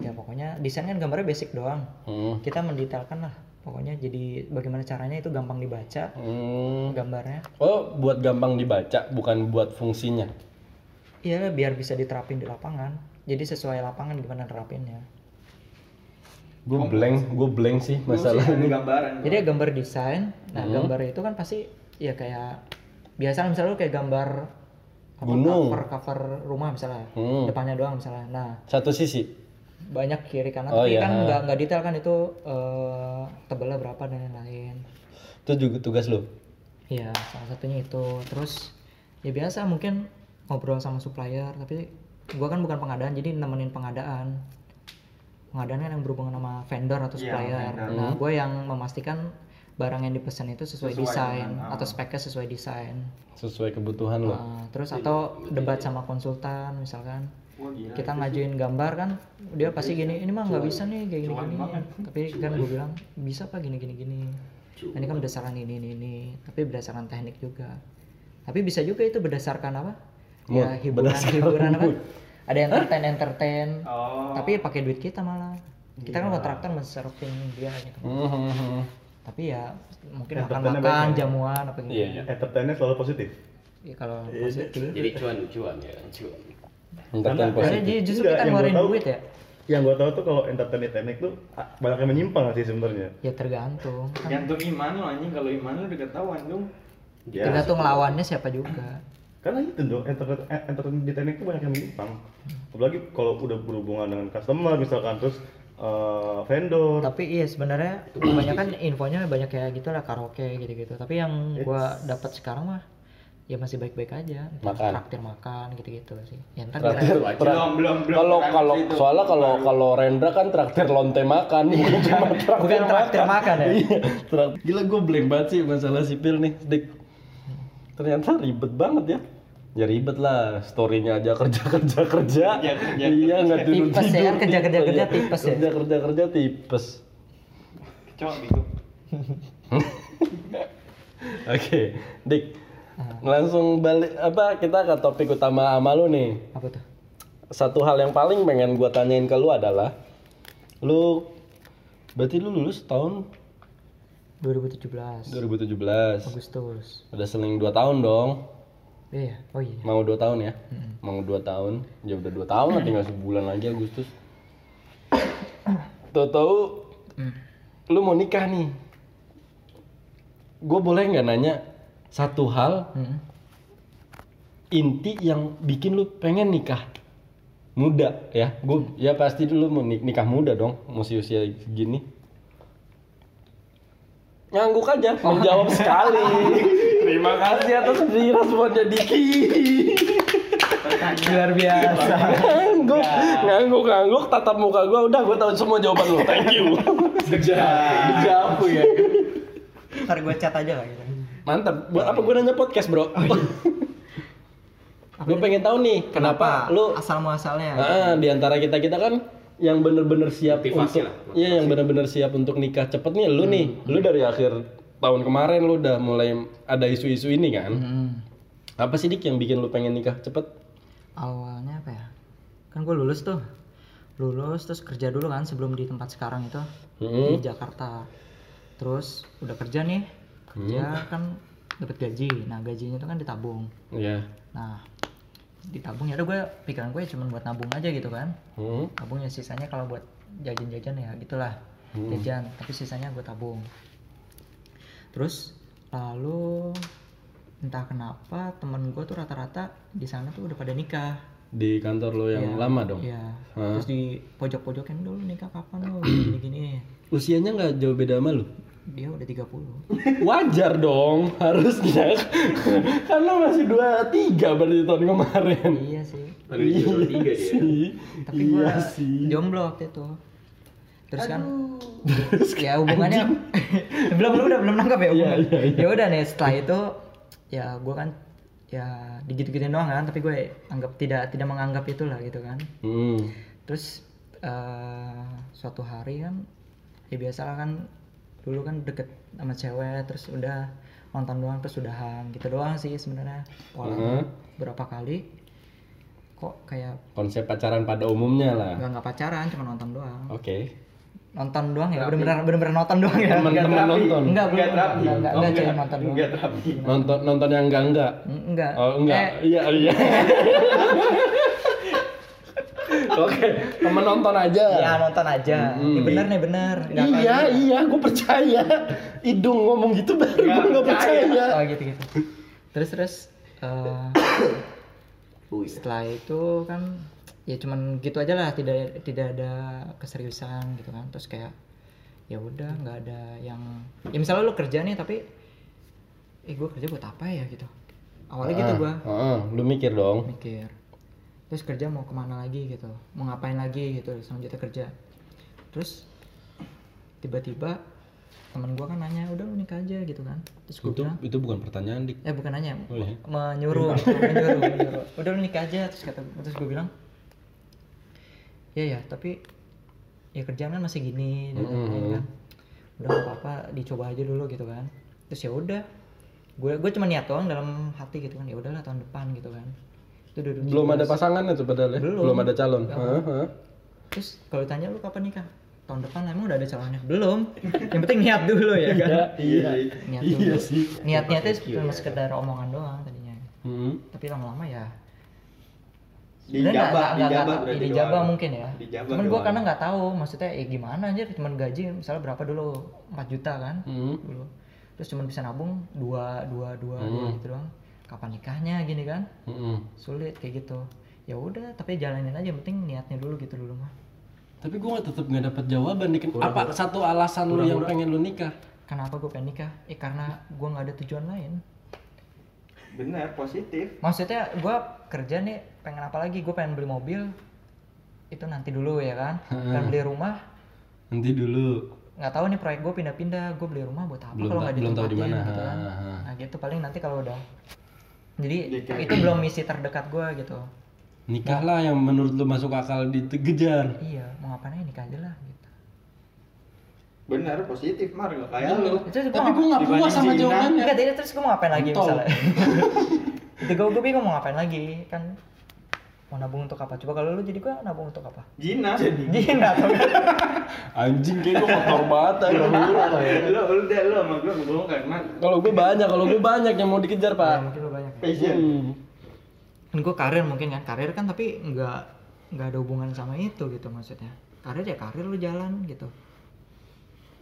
B: Ya pokoknya desain kan gambarnya basic doang.
A: Hmm.
B: Kita mendetailkan lah. Pokoknya jadi bagaimana caranya itu gampang dibaca
A: Hmm.
B: gambarnya.
A: Oh, buat gampang dibaca, bukan buat fungsinya.
B: Iya, biar bisa diterapin di lapangan. Jadi sesuai lapangan gimana terapinnya.
A: Gue blank, gue blank sih masalah
C: Fungsi dan
A: ini.
C: gambaran.
B: Jadi ya gambar desain, nah
A: Hmm.
B: gambar itu kan pasti ya kayak biasa misalnya lu kayak gambar apa,
A: Gunung.
B: cover cover rumah misalnya,
A: Hmm.
B: depannya doang misalnya. Nah
A: Satu sisi.
B: banyak kiri kanan,
A: Oh,
B: tapi
A: iya.
B: kan nggak nggak detail kan itu eh, tebalnya berapa dan lain-lain.
A: Itu juga tugas lu.
B: Iya, salah satunya itu. Terus ya biasa mungkin ngobrol sama supplier, tapi gua kan bukan pengadaan, jadi nemenin pengadaan. Pengadaan kan yang berhubungan sama vendor atau
C: Iya,
B: supplier.
C: vendor.
B: Nah, gue yang memastikan barang yang dipesan itu sesuai,
C: Sesuai
B: desain
C: dengan, ah.
B: atau speknya sesuai desain.
A: Sesuai kebutuhan lo.
B: Nah, terus atau debat sama konsultan misalkan.
C: Wah, gila.
B: Kita ngajuin gambar kan, dia pasti gini, ini mah nggak bisa nih kayak gini
C: cuan
B: gini.
C: banget.
B: Tapi kan gue bilang bisa apa gini gini gini. Nah, Ini kan berdasarkan ini ini ini, tapi berdasarkan teknik juga. Tapi bisa juga itu berdasarkan apa? Ya
A: Mood.
B: hiburan
A: Berdasarkan
B: hiburan apa?
A: mood.
B: Ada entertain entertain.
C: Oh.
B: Tapi ya pakai duit kita malah. Kita kan kontraktor men-serving dia gitu.
A: Mhm.
B: Tapi ya mungkin
E: Entertainnya
B: makan-makan, jamuan apa gitu.
A: Iya, iya.
E: Ya, entertainnya selalu positif
B: Ya, kalau gitu. positif.
D: Jadi cuan, cuan ya, cuan.
A: Entertain
B: Karena
A: positif.
B: dia justru kita
E: Enggak, yang gua
B: ngeluarin
E: tahu-
B: duit ya.
E: yang gua tahu tuh kalau entertain di teknik tuh ah, banyak yang menyimpang sih sebenarnya
B: Ya tergantung. Kan
C: Gantung iman lo anjing kalau iman lo udah ketahuan dong. Gitu
E: ya
B: tergantung lawannya siapa juga.
E: karena itu dong entertain, eh, entertain di teknik tuh banyak yang menyimpang apalagi kalau udah berhubungan dengan customer misalkan terus eh, vendor
B: Tapi iya sebenarnya kebanyakan infonya banyak kayak gitu lah karaoke gitu-gitu. Tapi yang gua dapat sekarang mah ya masih baik-baik aja. Entah
A: Makan.
B: Traktir makan gitu-gitu sih. Ya entar
A: Traktir,
B: kira-
A: tra-
C: Belum, belum, belum. Kan
A: Kalau
C: Bukan
A: kalau
C: itu.
A: soalnya kalau kalau Rendra kan traktir lonte makan, Iya. bukan cuma traktir
B: bukan traktir makan ya.
A: Iya, terang. Gila gue blank banget sih masalah sipil nih, Dik. Ternyata ribet banget ya. Ya ribet lah, storynya aja kerja kerja kerja.
C: kerja,
A: iya nggak tidur
B: Tipes ya,
A: tidur.
B: kerja, kerja,
A: Iya,
B: kerja, tipes ya.
A: Kerja kerja kerja tipes.
C: Cok, bingung.
A: Oke, Dik. Langsung balik apa kita ke topik utama sama lu nih.
B: Apa tuh?
A: Satu hal yang paling pengen gua tanyain ke lu adalah lu berarti lu lulus tahun
B: 2017
A: 2017.
B: Agustus
A: Udah seling 2 tahun dong.
B: iya oh iya
A: Mau 2 tahun ya? Mau 2 tahun. Ya udah 2 tahun lah tinggal sebulan lagi Agustus. Tahu-tahu
B: Hmm.
A: lu mau nikah nih. Gue boleh nggak nanya satu hal
B: Mm.
A: inti yang bikin lu pengen nikah muda ya gue ya pasti dulu mau nik- nikah muda dong masih usia segini ngangguk aja menjawab sekali terima kasih atas responnya Diki
B: luar biasa
A: ngangguk ngangguk ngangguk tatap muka gue udah gue tahu semua jawaban lu thank you
D: Dijapu ya.
B: ntar gue chat aja lah gitu
A: mantap buat apa gue nanya podcast
B: Oh,
A: bro
B: iya.
A: gue pengen tahu nih kenapa,
B: Apa?
A: lu
B: asal muasalnya
A: Ah, di antara kita kita kan yang bener-bener siap untuk
D: Motivasi lah,
A: iya yang bener-bener siap untuk nikah cepet nih
B: Hmm.
A: lu nih lu dari akhir tahun kemarin lu udah mulai ada isu-isu ini kan
B: Mm.
A: apa sih dik yang bikin lu pengen nikah cepet
B: awalnya apa ya kan gue lulus tuh lulus terus kerja dulu kan sebelum di tempat sekarang itu di
A: Mm-mm.
B: Jakarta terus udah kerja nih kerja kan dapat gaji nah gajinya itu kan ditabung
A: Iya.
B: nah ditabung ya udah gue pikiran gue cuma buat nabung aja gitu kan
A: Hmm.
B: tabung ya sisanya kalau buat jajan-jajan ya gitulah jajan tapi sisanya gue tabung terus lalu entah kenapa temen gue tuh rata-rata di sana tuh udah pada nikah
A: di kantor lu yang lama dong
B: Iya.
A: Hah?
B: Terus di pojok-pojokin dulu nikah kapan lo gini-gini.
A: usianya nggak jauh beda sama lu
B: Dia udah 30.
A: wajar dong harusnya karena masih dua tiga berarti tahun kemarin
B: iya sih.
D: Ada di zona tiga dia.
A: sih
B: Tapi
A: iya
B: gua
A: sih
B: jomblo waktu itu. Terus kan ya hubungannya belum belum udah belum nangkap ya hubungan.
A: Iya, iya,
B: Ya udah nih setelah itu ya gua kan ya digitu-gituin doang kan tapi gue anggap tidak tidak menganggap itulah gitu kan
A: Hmm.
B: terus eh suatu hari kan ya biasalah kan dulu kan deket sama cewek terus udah nonton doang terus udahan gitu doang sih sebenarnya polanya
A: Heeh.
B: berapa kali kok kayak
A: konsep pacaran pada umumnya lah
B: nggak nggak pacaran cuma nonton doang
A: Oke.
B: nonton doang ya bener-bener bener-bener nonton doang ya
A: Teman-teman nonton.
B: enggak belum enggak
C: Oh,
B: enggak enggak, cuma nonton doang
D: Enggak terapi.
A: Nonton nonton yang enggak enggak.
B: Mm, enggak
A: Oh enggak. Iya iya. Oke, temen nonton aja.
B: Eh, ya nonton aja Ini bener nih bener Nggak kayak gitu.
A: iya, iya, gue percaya. Hidung ngomong gitu baru gue nggak percaya.
B: Oh gitu gitu. Terus terus eh, setelah itu kan ya cuman gitu aja lah tidak tidak ada keseriusan gitu kan terus kayak ya udah nggak ada yang ya misalnya lu kerja nih tapi eh gue kerja buat apa ya gitu awalnya
A: Ah.
B: gitu gua
A: Heeh, lu mikir dong.
B: mikir terus kerja mau kemana lagi gitu mau ngapain lagi gitu selanjutnya kerja terus tiba-tiba teman gua kan nanya udah lu nikah aja gitu kan terus gue
A: Itu
B: bilang
A: itu bukan pertanyaan dik.
B: eh bukan nanya
A: Oh, iya.
B: menyuruh menyuruh menyuruh udah lu nikah aja terus kata terus gue bilang iya ya tapi ya kerjaan kan masih gini dan lain-lain kan udah nggak apa-apa dicoba aja dulu gitu kan terus ya udah gue gue cuma niat doang dalam hati gitu kan ya udahlah tahun depan gitu kan itu dulu
A: Belum ada pasangan itu padahal ya?
B: Belum.
A: Belum ada calon. ah. Heeh, heeh.
B: terus kalau ditanya lu kapan nikah tahun depan emang udah ada calonnya belum yang penting niat dulu ya kan
A: Iya.
B: niat dulu
A: Iya sih. Iya.
B: niat niatnya cuma sekedar omongan doang tadinya
A: Heeh.
B: tapi lama-lama ya
C: Dijabah,
B: Sebenarnya nggak- nggak-
C: dijabah
B: nggak-
C: berarti
B: dijabah
C: doang.
B: mungkin ya
C: Dijabah
B: cuman gue
C: doang.
B: karena nggak tahu maksudnya ya gimana aja cuman gaji misalnya berapa dulu 4 juta kan
A: Heeh.
B: dulu terus cuman bisa nabung dua dua dua dua gitu doang kapan nikahnya gini kan
A: Heeh.
B: sulit kayak gitu ya udah tapi jalanin aja yang penting niatnya dulu gitu dulu mah
A: Tapi gue tetap nggak dapat jawaban dik. Apa satu alasan lu yang pengen lu nikah?
B: kenapa gue pengen nikah eh karena gue nggak ada tujuan lain
C: Benar, positif.
B: maksudnya gue kerja nih pengen apa lagi gue pengen beli mobil itu nanti dulu ya kan pengen beli rumah
A: Nanti dulu.
B: nggak tahu nih proyek gue pindah-pindah gue beli rumah buat apa
A: Belum
B: kalau
A: ta-
B: nggak
A: belum tahu di
B: ditempatin
A: mana.
B: gitu kan.
A: Ha, ha,
B: nah gitu paling nanti kalau udah jadi itu belum misi terdekat gue gitu
A: Nikahlah yang menurut lu masuk akal dikejar.
B: iya mau ngapain aja nikah aja lah gitu
C: Benar, positif, Mar. Nggak kayak lu.
B: itu gue
A: Tapi gue nggak puas sama jawabannya.
B: enggak jadi terus gue mau ngapain lagi
A: Entol.
B: misalnya itu gue gue bingung mau ngapain lagi kan mau nabung untuk apa coba kalau lu jadi gua nabung untuk apa
C: Jina. Jadi.
B: Gina atau enggak?
A: Anjing kayak gue kotor banget aja.
C: Lo udah lo sama gue belum kan man.
A: Kalau gue banyak, kalau gue banyak yang mau dikejar
B: Ya,
A: pak.
B: mungkin lu banyak ya.
C: Passion.
A: Hmm.
B: kan gue karir mungkin kan karir kan tapi nggak nggak ada hubungan sama itu gitu maksudnya karir ya karir lu jalan gitu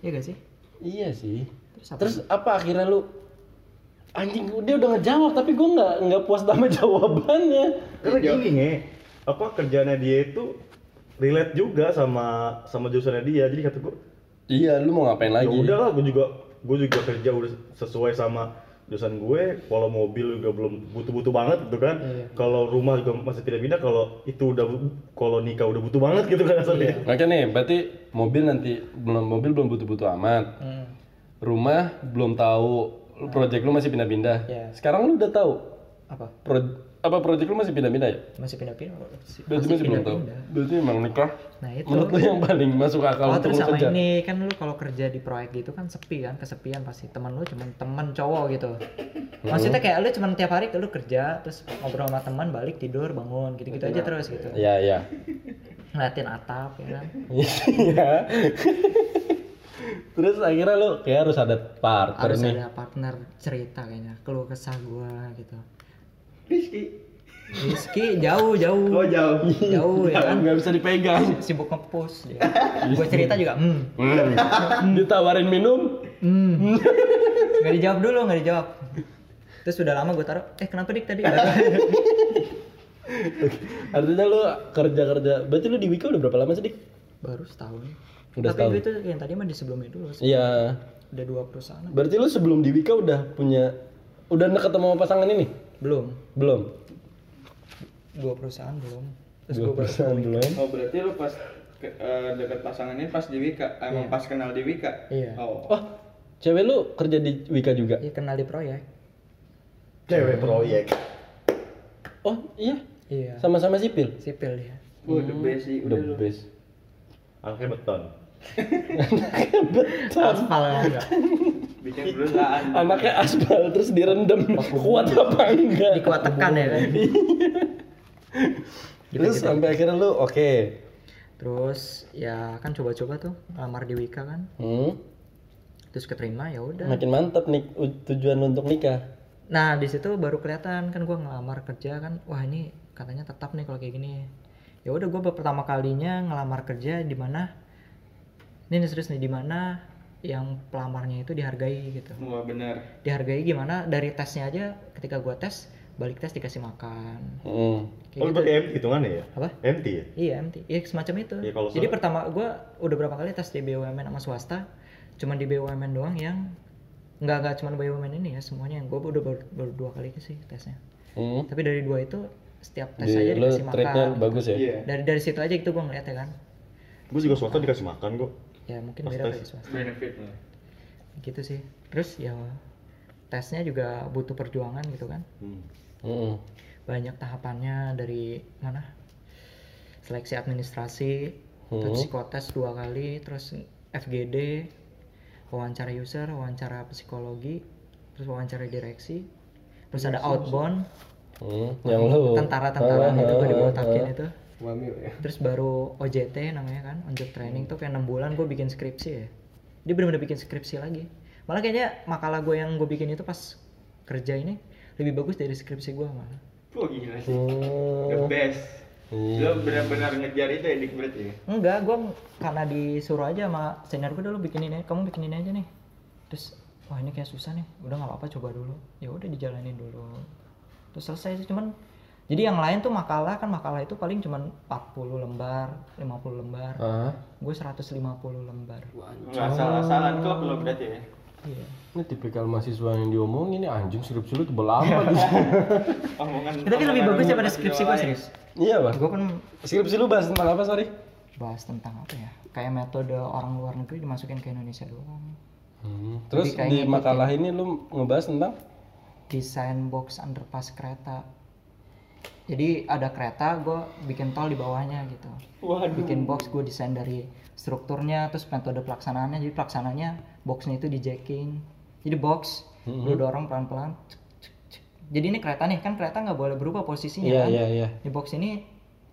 B: ya gak sih
A: Iya sih.
B: terus apa
A: Terus apa akhirnya lu anjing dia udah ngejawab tapi gue nggak nggak puas sama jawabannya.
E: Karena
C: Iya.
E: gini nge, apa kerjaannya dia itu relate juga sama sama jurusannya dia. Jadi kata gue,
A: Iya, lu mau ngapain
E: ya
A: lagi?
E: udahlah gue juga gue juga kerja udah sesuai sama jurusan gue. Kalau mobil juga belum butuh-butuh banget gitu kan. Kalau rumah juga masih tidak pindah. Kalau itu udah bu- kalau nikah udah butuh banget gitu kan asalnya.
A: Oke nih, berarti mobil nanti belum mobil belum butuh-butuh amat.
B: Hmm,
A: Rumah belum tahu, Lu- project lu masih pindah-pindah.
B: Iya.
A: Sekarang lu udah tahu
B: apa
A: pro- apa project lu masih pindah-pindah ya?
B: masih pindah-pindah
A: Berarti masih, belum tahu.
B: pindah-pindah.
A: Berarti emang nikah
B: nah itu
A: menurut lu yang paling masuk akal
B: oh,
A: untuk
B: terus
A: lu
B: sama
A: kejar.
B: ini kan lu kalau kerja di proyek gitu kan sepi kan kesepian pasti temen lu cuman temen cowok gitu maksudnya kayak lu cuman tiap hari lu kerja terus ngobrol sama teman balik tidur bangun gitu gitu aja terus gitu
A: Iya, iya.
B: ngeliatin atap ya kan
A: Iya. terus akhirnya lu kayak harus ada partner
B: harus
A: nih.
B: ada partner cerita kayaknya keluh kesah gua gitu
C: Rizky.
B: Rizky jauh jauh
C: Oh jauh.
B: jauh ya kan
A: Nggak bisa dipegang.
B: sibuk ngepost
A: Iya.
B: dia. gua cerita juga hmm
A: Ditawarin minum,
B: hmm nggak dijawab dulu nggak dijawab terus sudah lama gua taruh eh kenapa dik tadi
A: artinya lu kerja-kerja. Berarti lu di Wika udah berapa lama sih, Dik?
B: baru setahun
A: Udah setahun.
B: tapi itu yang tadi mah di sebelumnya dulu
A: Iya.
B: udah dua perusahaan
A: Berarti lu sebelum di Wika udah punya udah deket sama pasangan ini?
B: belum
A: Belum.
B: dua perusahaan belum terus
A: Dua
B: gua baru
A: perusahaan belum.
C: Oh berarti lu pas ke, eh, deket pasangannya pas di Wika, emang pas kenal di Wika.
B: Iya.
C: Oh.
A: Wah, cewek lu kerja di Wika juga?
B: iya kenal di proyek
E: Cewek proyek.
A: Oh, iya.
B: iya
A: Sama-sama sipil.
B: sipil dia
C: Oh the best sih.
A: The
C: Udah lu.
A: best.
E: Anaknya beton.
B: aspal kan enggak
C: Bikin perusahaan.
A: Anaknya aspal terus direndam. Kuat apa enggak?
B: dikuat tekan ya kan
A: Terus sampai akhirnya lu oke.
B: terus ya kan coba-coba tuh lamar di Wika kan
A: Hmm.
B: terus keterima ya udah
A: Makin mantap nih u- tujuan lu untuk nikah.
B: nah di situ baru kelihatan kan gua ngelamar kerja kan wah ini katanya tetap nih kalau kayak gini ya udah gua pertama kalinya ngelamar kerja di mana ini nih, serius nih di mana yang pelamarnya itu dihargai gitu
C: Wah benar.
B: dihargai gimana dari tesnya aja ketika gua tes balik tes dikasih makan
A: Hmm.
B: Kayak
E: Oh, lu
B: gitu.
E: pakai MT hitungannya ya?
B: Apa?
E: MT ya?
B: Iya MT, ya semacam itu.
E: Iya, kalau
B: Jadi
E: saya-
B: pertama gua udah berapa kali tes di BUMN sama swasta, cuman di BUMN doang yang nggak nggak cuman BUMN ini ya semuanya yang gue udah baru, baru dua kali sih tesnya.
A: Hmm.
B: Tapi dari dua itu setiap tes aja
A: Di, lu
B: Nah, dikasih
A: treatnya
B: makan.
A: bagus ya?
C: Iya.
B: Dari dari situ aja gitu gue ngeliat ya kan.
E: Gue juga swasta dikasih makan kok.
B: Ya mungkin
E: Pas
B: beda
E: tes.
B: kayak swasta.
C: Benefitnya.
B: Gitu sih. Terus ya tesnya juga butuh perjuangan gitu kan.
E: Hmm.
A: Hmm.
B: Banyak tahapannya dari mana? Seleksi administrasi,
A: Hmm.
B: terus psikotes dua kali terus FGD wawancara user wawancara psikologi terus wawancara direksi terus ada outbound
A: Hmm. Yang lu
B: tentara-tentara
A: Ah,
B: gitu itu gue
A: ah,
B: dibotakin
A: ah.
B: itu
D: Wamil ya.
B: terus baru OJT namanya kan on job training tuh kayak enam bulan gue bikin skripsi ya dia bener-bener bikin skripsi lagi malah kayaknya makalah gue yang gue bikin itu pas kerja ini lebih bagus dari skripsi gue malah
C: Wah gila sih.
A: Hmm.
B: Oh.
C: The best.
B: Iya.
C: Lo benar-benar ngejar itu ya Dik berarti ya?
B: Enggak, gue karena disuruh aja sama senior gue dulu bikin ini, kamu bikin ini aja nih. Terus wah ini kayak susah nih, udah nggak apa-apa coba dulu. Ya udah dijalanin dulu. Terus selesai sih cuman jadi yang lain tuh makalah kan makalah itu paling cuman 40 lembar, 50 lembar.
A: Ah,
B: Gue 150 lembar.
C: Nggak salah-salah klub lo berarti ya?
B: Iya.
A: ini tipikal mahasiswa yang diomongin ini anjing skripsi lu tebel amat.
C: Omongan
B: Tapi lebih bagus
C: omongan rumah
B: daripada
C: masih
B: skripsi gue
C: doang.
B: serius.
A: Iya, Bang.
B: Gue kan
A: Skripsi lu bahas tentang apa, sorry?
B: bahas tentang apa ya? Kayak metode orang luar negeri dimasukin ke Indonesia doang.
A: Hmm, Terus
B: kayak
A: di
B: ngikutin.
A: makalah ini lu ngebahas tentang
B: desain box underpass kereta. Jadi ada kereta, gue bikin tol di bawahnya gitu. Bikin box, gue desain dari strukturnya, terus metode pelaksanaannya. Jadi pelaksanaannya boxnya itu di jacking. Jadi box, lu
A: Mm-hmm.
B: dorong pelan-pelan. cek, cek, cek. Jadi ini kereta nih, kan kereta nggak boleh berubah posisinya
A: Iya,
B: kan.
A: iya, iya.
B: Di box ini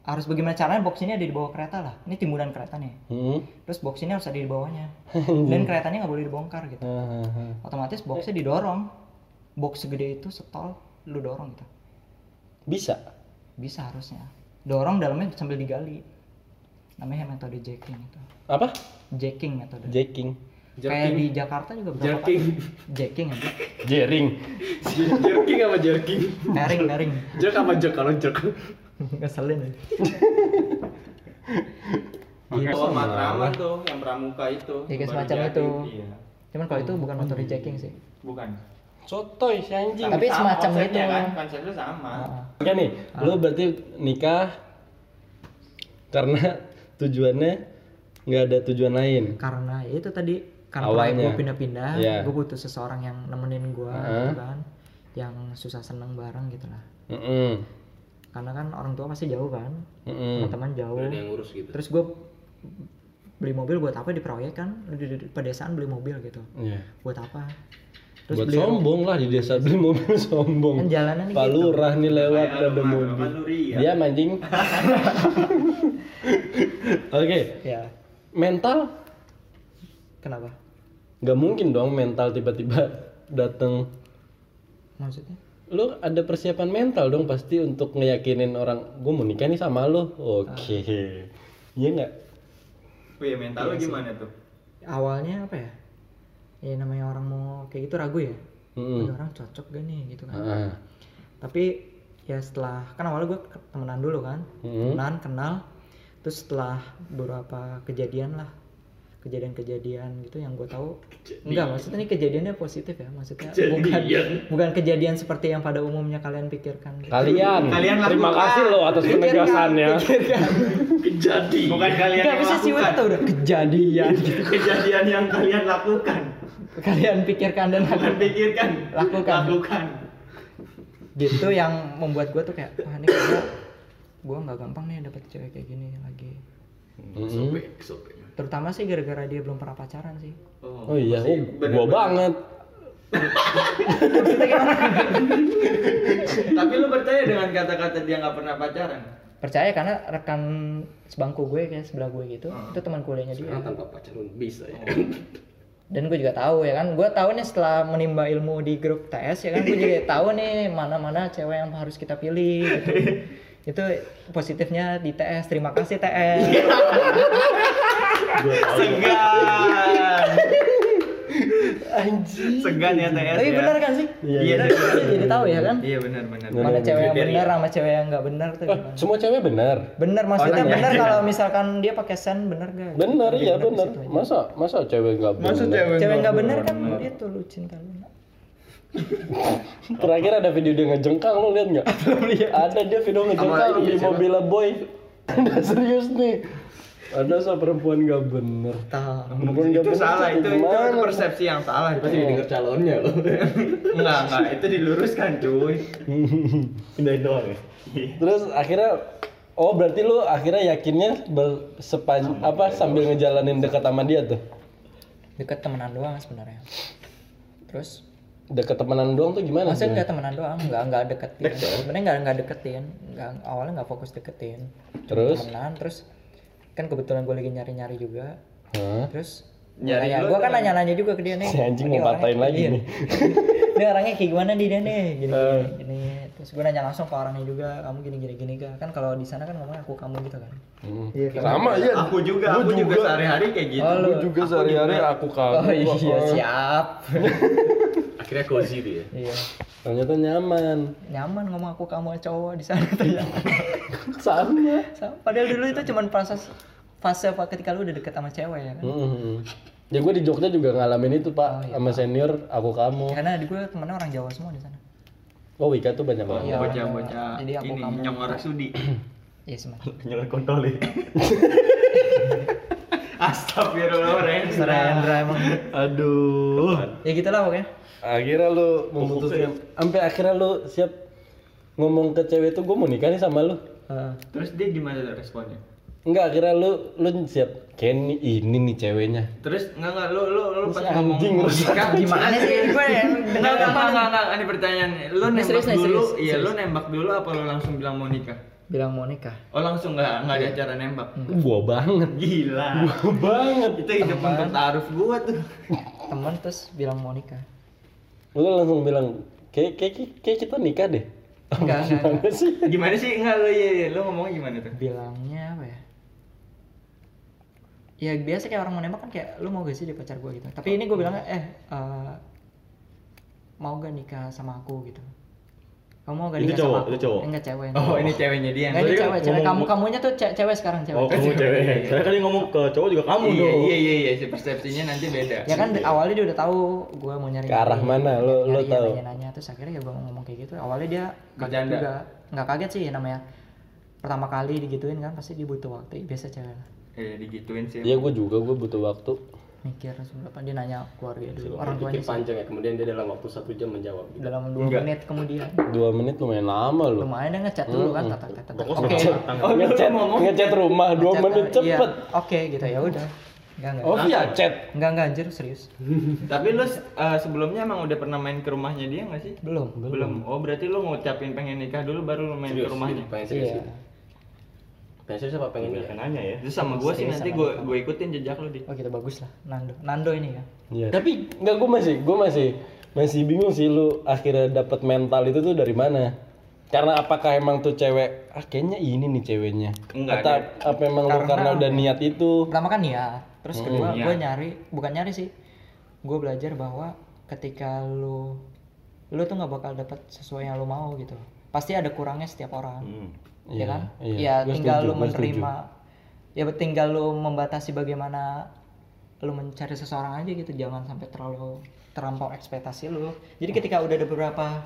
B: harus bagaimana caranya box ini ada di bawah kereta lah. Ini timbunan kereta nih.
A: Hmm.
B: Terus box ini harus ada di bawahnya. Dan keretanya nggak boleh dibongkar gitu.
A: Hahaha.
B: Otomatis boxnya didorong. Box segede itu setol lu dorong gitu.
A: Bisa.
B: Bisa harusnya. Dorong dalamnya sambil digali. Namanya metode jacking itu.
A: Apa?
B: Jacking metode.
A: Jacking.
B: Kayak di Jakarta juga berapa
D: Jerking.
B: kali- Jacking ya? aja.
A: Jering.
D: jerking apa jerking?
B: Pairing, pairing.
D: Jerk apa jerk kalau jerk?
B: Ngeselin. ya.
C: Bawa matraman tuh yang pramuka itu.
B: Ya, kayak
C: baru
B: semacam
C: jadi.
B: itu.
C: Iya.
B: Cuman kalau itu bukan metode jacking sih.
C: Bukan.
A: Sotoy si anjing.
B: Tapi
C: sama
B: semacam
C: konsepnya
B: gitu.
C: Kan, konsepnya sama.
A: Oke nih,
B: Ah.
A: lo berarti nikah karena tujuannya nggak ada tujuan lain.
B: karena ya itu tadi karena
A: Awalnya.
B: proyek gue pindah-pindah
A: Iya.
B: gue butuh seseorang yang nemenin gue
A: Heeh.
B: gitu kan yang susah seneng bareng gitu lah
A: Mm-mm.
B: karena kan orang tua pasti jauh kan
A: Mm-mm.
B: teman-teman jauh
D: Hmm. Ada yang ngurus gitu.
B: terus gue beli mobil buat apa di proyek kan di, di- di pedesaan beli mobil gitu
A: Iya.
B: buat apa terus
A: Buat
B: beli
A: sombong lah di desa beli mobil
B: kan
D: Hmm.
A: sombong.
B: jalanan
A: Pak
B: gitu
A: Lurah nih lewat
C: Kayak
A: ada
C: Alma-
A: mobil.
C: Almanuri, ya.
A: Dia anjing. Oke,
B: ya
A: mental
B: kenapa
A: nggak mungkin dong mental tiba-tiba datang.
B: maksudnya
A: Lo ada persiapan mental dong pasti untuk ngeyakinin orang gue mau nikah nih sama lo. Oke, iya nggak?
C: Wih, Oh, iya, mental
B: Iya,
C: lu gimana tuh?
B: awalnya apa ya ya namanya orang mau kayak gitu ragu ya
A: Mm-mm.
D: Hmm.
B: Ini orang cocok gak nih gitu kan
A: Ah.
B: tapi ya setelah kan awalnya gue temenan dulu kan
C: Hmm?
A: Mm.
B: temenan kenal terus setelah beberapa kejadian lah kejadian-kejadian gitu yang gue tahu enggak maksudnya ini kejadiannya positif ya maksudnya bukan bukan kejadian seperti yang pada umumnya kalian pikirkan gitu.
A: Kalian,
C: Kalian
A: terima
C: lakukan.
A: kasih lo atas ya. penegasannya.
C: Bukan
B: Enggak
C: kalian yang
B: Iya. bisa sih
C: lakukan.
B: udah udah kejadian gitu.
C: Kejadian yang kalian lakukan.
B: kalian pikirkan dan
C: Bukan
B: lakukan
C: pikirkan.
B: Lakukan.
C: Lakukan.
B: gitu yang membuat gue tuh kayak wah ini kayaknya gue nggak gampang nih dapet cewek kayak gini lagi
A: Mm-mm.
B: terutama sih gara-gara dia belum pernah pacaran sih
A: Oh iya, oh, gua banget.
C: Tapi lu percaya dengan kata-kata dia nggak pernah pacaran?
B: percaya karena rekan sebangku gue kayak sebelah gue gitu
C: Hmm.
B: itu teman kuliahnya dia
D: Sekarang tanpa pacaran bisa ya.
B: dan gue juga tahu ya kan gue tahu nih setelah menimba ilmu di grup TS ya kan gue juga tahu nih mana-mana cewek yang harus kita pilih gitu. itu positifnya di TS terima kasih TS
C: Iya, Segan.
A: Anjir.
C: Segan ya TS.
B: tapi
C: ya.
B: benar kan sih
C: Iya,
A: Iya.
C: benar.
B: Kita jadi tahu ya kan
C: Iya benar benar.
B: mana cewek yang
C: Kriteria.
B: benar sama cewek yang nggak benar tuh
A: Eh,
B: gimana.
A: semua cewek benar.
B: benar maksudnya
C: Orangnya.
B: benar kalau misalkan dia pakai sen benar gak
A: Benar iya
B: di
A: benar.
B: situ aja.
A: Masa masa cewek nggak benar?
B: cewek nggak benar kan itu lu cinta lu
A: Terakhir ada video dia ngejengkang lo lihat nggak? ada dia video ngejengkang di mobil boy. Ada serius nih. Ada sama perempuan nggak bener.
B: tahu
A: Perempuan nggak
C: Itu
A: bener.
C: salah,
A: tuh
C: itu itu
A: gimana?
C: persepsi yang salah. itu.
D: Pasti didengar calonnya lo.
C: Enggak, enggak, itu diluruskan, cuy.
E: pindahin doang ya
A: Terus akhirnya Oh berarti lu akhirnya yakinnya ber- sepan- apa sambil ngejalanin dekat sama dia tuh?
B: deket temenan doang sebenarnya terus
A: Dekat temenan doang tuh gimana?
B: maksudnya nggak temenan doang nggak nggak deketin sebenarnya nggak nggak deketin nggak awalnya nggak fokus deketin Cuma
A: Terus?
B: temenan terus kan kebetulan gue lagi nyari nyari juga
A: Hah?
B: terus
C: Nyari
B: nanya,
C: lu
B: gue kan nanya nanya juga ke dia nih
A: Si anjing
B: dia
A: mau
B: orangnya
A: patahin
B: kayak
A: lagi
B: gini.
A: nih. Eh.
B: dia orangnya kayak gimana nih dia nih gini, gini, gini. terus gue nanya langsung ke orangnya juga kamu gini gini gini gak kan kalau di sana kan ngomongnya aku kamu gitu kan
A: Hmm.
B: Iya, kan?
A: Sama ya.
C: Aku juga, aku juga sehari-hari kayak gitu.
B: Oh, lu.
A: Gue juga sehari-hari aku kamu.
B: oh iya
A: Oh.
B: siap
D: Akhirnya cozy dia.
B: iya
A: Ternyata nyaman.
B: nyaman ngomong aku kamu cowok di sana ternyata
A: Sama.
B: Sama. Padahal dulu itu cuman proses fase apa ketika lu udah deket sama cewek ya kan.
A: Ya gue di Jogja juga ngalamin itu
D: Oh,
A: pak,
D: iya,
A: sama senior aku kamu.
B: Karena di gue temennya orang Jawa semua di sana.
A: Oh Wika tuh banyak banget.
B: Iya,
C: Bocah-bocah
B: Jadi aku
C: ini
B: kamu.
C: nyong orang sudi.
B: Iya semacam.
E: nyalain kontol ya
C: Astagfirullah, Rendra.
B: Rendra emang.
E: aduh
B: Ya gitulah pokoknya.
A: Akhirnya lu memutuskan, sampai akhirnya lu siap ngomong ke cewek tuh gue mau nikah nih sama lu.
B: Heeh.
C: Terus dia gimana tuh responnya?
A: Enggak, akhirnya lu lu siap. Ken ini nih ceweknya.
C: Terus enggak enggak lu lu lu pas
A: Si
C: ngomong
A: anjing rusak.
C: nikah
B: Gimana sih gue ya?
C: Enggak enggak enggak enggak, enggak, ini pertanyaan. Lu
B: Ini
C: nembak
B: serius nih,
C: dulu,
B: serius,
C: iya
B: serius.
C: lu nembak dulu apa lu langsung bilang mau nikah?
B: bilang mau nikah
C: Oh langsung nggak nggak ada acara nembak.
B: Hmm.
D: Hmm.
A: Gua banget.
C: Gila.
A: Gua banget.
C: Itu hidup untuk taruh gua tuh.
B: temen terus bilang mau nikah
A: Lu langsung bilang, kayak kayak kayak- kayak kita nikah deh.
B: Enggak, enggak,
A: Gimana sih?
C: Gimana sih? Enggak lo ya, lo ngomongnya gimana tuh?
B: bilangnya apa ya ya biasa kayak orang mau nembak kan kayak lu mau gak sih di pacar gue gitu tapi ini gue bilangnya eh eh, mau gak nikah sama aku gitu kamu mau gak
E: Itu
B: nikah
E: cowok,
B: sama aku
E: itu cowok.
B: enggak cewek
C: Oh, ini ceweknya
A: Iya,
C: dia.
B: Enggak, ini
E: Tadi kan
B: cewek, cewek. Kamu
E: ngomong-
B: kamunya tuh ce- cewek sekarang cewek.
E: Oh, kamu cewek. Saya tadi ngomong ke cowok juga kamu
C: iya,
E: dong.
C: iya, iya, iya, si persepsinya nanti beda.
B: ya kan awalnya dia udah tahu gue mau nyari
A: Iya. Ke arah mana? Lo- lo tahu?
B: nanya, nanya terus akhirnya ya gue ngomong kayak gitu awalnya dia kaget
C: Bercanda.
B: juga nggak kaget sih ya namanya pertama kali digituin kan pasti dia butuh waktu biasa cewek lah
C: Eh, digituin sih.
A: Ya gua juga gua butuh waktu.
B: mikir seberapa dia nanya keluarga dulu orang
D: Orang
B: tuanya
D: pikir
B: sih.
D: panjang ya, kemudian dia dalam waktu satu jam menjawab. gitu.
B: dalam dua
C: Enggak.
B: menit kemudian
A: Dua menit lumayan lama loh.
B: lumayan dia ngechat dulu kan tatak tatak tatak.
E: Fokus
B: oke
E: sama tangga.
A: Oh, Hmm. ngechat, ngechat rumah dua
B: Ngechat,
A: menit
B: iya.
A: cepet.
B: oke gitu ya udah enggak enggak
A: Oh iya chat.
B: enggak enggak anjir serius
C: Tapi lo eh, sebelumnya emang udah pernah main ke rumahnya dia nggak sih?
B: belum
C: Belum. Oh, berarti lo ngucapin pengen nikah dulu baru lo main ke
D: Serius,
C: rumahnya.
D: gitu, pengen serius.
B: iya
D: gitu. Pengen serius apa pengen
E: Banyak
D: nikah?
E: yang nanya ya.
C: Terus Iya. sama gue sih
B: Serius
C: nanti
B: sama
C: gue gue ikutin jejak lo di.
B: oh gitu bagus lah Nando Nando ini kan
A: Iya. Tapi nggak gua masih gua masih masih bingung sih lu akhirnya dapet mental itu tuh dari mana? Karena apakah emang tuh cewek ah kayaknya ini nih ceweknya?
C: Enggak,
A: Atau apa emang lu
B: Karena-
A: karena udah niat itu?
B: pertama kan niat terus
A: Hmm,
B: kedua
C: niat.
B: gue nyari bukan nyari sih gue belajar bahwa ketika lu lu tuh nggak bakal dapet sesuai yang lu mau gitu pasti ada kurangnya setiap orang ya
A: Iya,
B: kan
A: iya.
B: ya
A: Gua
B: tinggal
A: setuju,
B: lu
A: gua setuju.
B: menerima ya tinggal lu membatasi bagaimana lu mencari seseorang aja gitu jangan sampai terlalu terlampau ekspektasi lu jadi ketika udah ada beberapa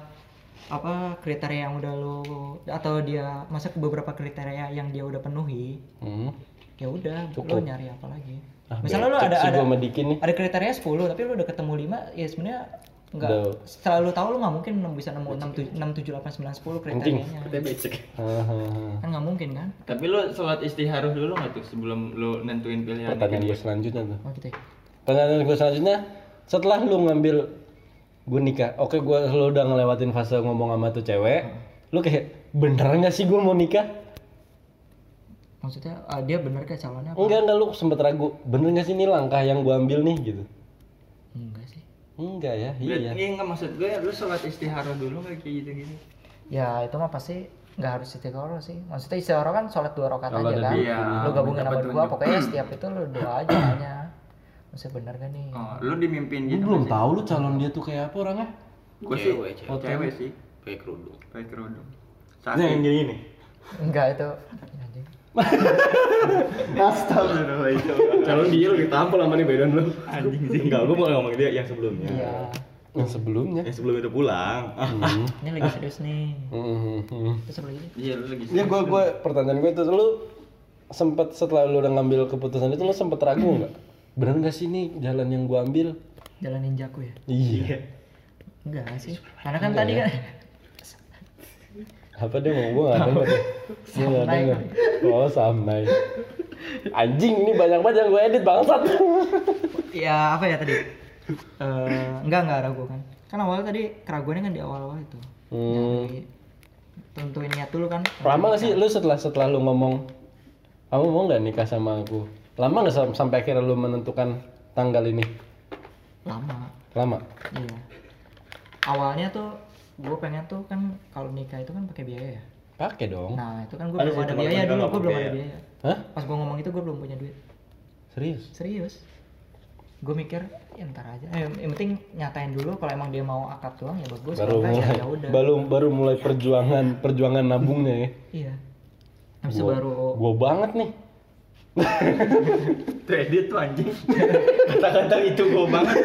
B: apa kriteria yang udah lu atau dia masuk ke beberapa kriteria yang dia udah penuhi
A: Hmm.
B: ya udah
A: Cukup.
B: lu nyari apa lagi
A: Ah,
B: misalnya lu
A: becek
B: ada
A: sih
B: ada
A: gua sama Diki nih.
B: ada kriterianya 10 tapi lu udah ketemu 5 ya sebenarnya enggak
A: Udah.
B: setelah lu tahu lu nggak mungkin nem- bisa nemu 6 7 8 9 10 kriterianya
D: Kita becek.
A: Ah, Hahaha.
B: kan nggak mungkin kan
C: Tapi lo sholat istiharoh dulu nggak tuh sebelum lo nentuin pilihan?
A: Pertanyaan gue selanjutnya tuh.
B: oh gitu ya
A: Pertanyaan gue selanjutnya, setelah lu ngambil gue nikah, oke gue lu udah ngelewatin fase ngomong sama tuh cewek, lu kayak bener nggak sih gue mau nikah?
B: maksudnya ah, dia bener kayak calonnya apa
A: Enggak enggak lu sempet ragu, bener nggak sih ini langkah yang gue ambil nih gitu?
B: enggak sih
A: Enggak ya, iya.
C: Iya. Iya nggak maksud gue lo sholat istiharoh dulu nggak kayak gitu gitu?
B: ya itu mah pasti nggak harus istiqoroh sih maksudnya istiqoroh kan sholat dua rakaat
A: Kalau ya,
B: aja
A: ada
B: kan
C: dua, iya.
B: lu gabungin
C: Dapat
B: sama dua
C: tunjuk.
B: pokoknya setiap itu lu doa aja hanya maksudnya bener kan nih
C: Oh, lo dimimpin
A: Lu
C: gitu?
A: belum tahu lu calon dia tuh kayak apa orangnya?
C: Gue sih
D: Cewek, cewek.
C: cewek sih,
D: Pakai kerudung.
C: pakai kerudung.
E: Ini Nah, yang
C: Sakit.
E: gini nih.
B: enggak itu ya, anjing.
C: Astagfirullahaladzim.
D: Calon dia lu ditampol sama nih badan lu.
E: Anjing sih. Enggak, gua mau ngomong dia yang sebelumnya.
B: Iya.
A: Yang sebelumnya.
E: Yang sebelumnya udah pulang. Ah,
B: ini lagi serius nih
A: Hmm,
D: Mm-hmm.
A: hmm.
B: terus apa lagi
C: Iya lo lagi.
A: Iya gue gue pertanyaan gue itu lu sempet setelah lu udah ngambil keputusan itu lu sempet ragu nggak? Bener nggak sih ini jalan yang gue ambil?
B: jalan ninjaku ya
A: Iya.
B: enggak sih karena kan tadi kan
A: apa dia mau gue nggak denger gue nggak
B: Samnai.
A: denger oh samnai anjing ini banyak banget yang gue edit bangsat
B: ya apa ya tadi Eh, enggak enggak ragu kan kan awalnya tadi keraguannya kan di awal-awal itu
A: hmm.
B: Jadi, tentuin niat dulu kan
A: lama gak sih lu setelah setelah lu ngomong kamu mau nggak nikah sama aku lama nggak sam- sampai akhirnya lu menentukan tanggal ini
B: lama
A: lama
B: Iya. Awalnya tuh gue pengen tuh kan kalau nikah itu kan pakai biaya ya.
A: pakai dong
B: Nah itu kan gue
E: Ada
B: belum
E: sih
B: ada
E: teman
B: biaya
E: gue
B: dulu,
E: nggak
B: gue belum ada
E: pakai
B: biaya.
A: hah
B: Pas gue ngomong itu gue belum punya duit.
A: serius
B: Serius? Gue mikir ya ntar aja. Eh, yang penting nyatain dulu kalau emang dia mau akad doang ya bagus.
A: baru
B: kalau enggak,
A: mulai
B: ya udah.
A: baru baru mulai perjuangan perjuangan nabungnya ya
B: Iya. Habis itu
A: Gua-
B: baru
A: gua banget nih
C: Tuh edit tuh anjing. Kata-kata itu gue banget.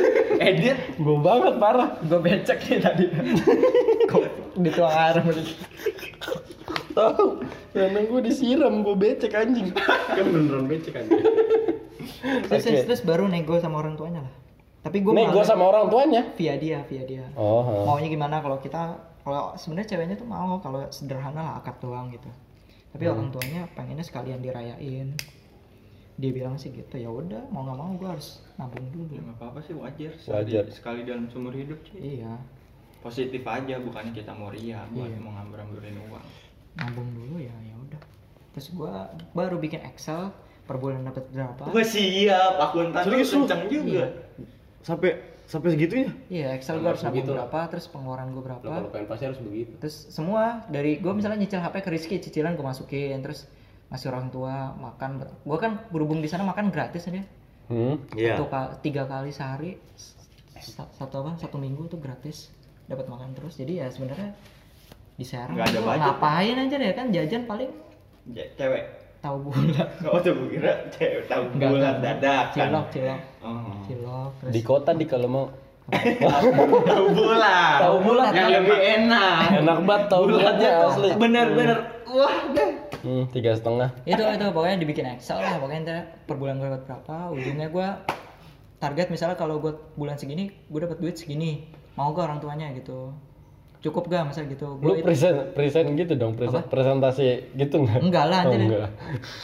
C: Edit.
A: gua banget parah
B: gue becek nih tadi. Kok dituang air sama dia.
A: tahu karena gue disiram gue becek anjing
D: Kan beneran becek anjing.
B: terus, terus, terus baru nego sama orang tuanya lah. Tapi gue
A: nih gue sama orang tuanya
B: via dia, via dia.
A: oh ha.
B: maunya gimana kalau kita kalau sebenarnya ceweknya tuh mau kalau sederhana lah akad doang gitu tapi orang tuanya pengennya sekalian dirayain dia bilang sih gitu ya udah mau nggak mau gue harus nabung dulu
C: Ya nggak apa-apa sih wajar.
A: Wajar.
C: Sekali, sekali dalam seumur hidup sih.
B: iya
C: Positif aja bukan kita mau ria buat mau ngambil-ngambilin uang.
B: nabung dulu ya ya udah terus gua baru bikin Excel per bulan dapat berapa
C: Gue siap, akuntan lu
E: Serius lu?
C: kenceng juga.
E: Sampai sampai segitunya?
B: iya Excel gua harus nabung
D: Harus begitu lah.
B: berapa terus pengeluaran gua berapa
D: Nah, kalau pengen pasti harus begitu.
B: terus semua dari gue misalnya nyicil HP ke Rizky cicilan gue masukin terus masih orang tua makan gue kan berhubung di sana makan gratis aja
A: Hmm.
E: Iya.
B: satu ka- tiga kali sehari sa- satu apa satu minggu tuh gratis dapat makan terus jadi ya sebenarnya di Serang
C: Nggak ada
B: gua
C: budget.
B: ngapain aja deh kan jajan paling
C: Ya, cewek.
B: tahu bulat
C: Oh, tuh gue kira cewek tahu
B: Nggak,
C: bulan
B: nggak.
C: dadakan.
B: cilok cilok
C: Oh.
B: cilok terus
A: Di kota di kalau mau
C: Tahu bulan.
A: Tahu bulat.
C: Yang lebih enak.
A: enak banget tahu bulatnya asli.
C: Bener-bener. Wah, deh.
A: Hmm, tiga setengah.
B: itu itu pokoknya dibikin Excel lah pokoknya ntar per bulan gue dapat berapa ujungnya gue target misalnya kalau gue bulan segini gue dapat duit segini mau gak orang tuanya gitu cukup gak misalnya gitu
A: Lu
B: gue
A: present present gitu dong, presen- presentasi gitu nggak?
B: enggak lah
A: Oh,
B: anjir. ya.
A: enggak.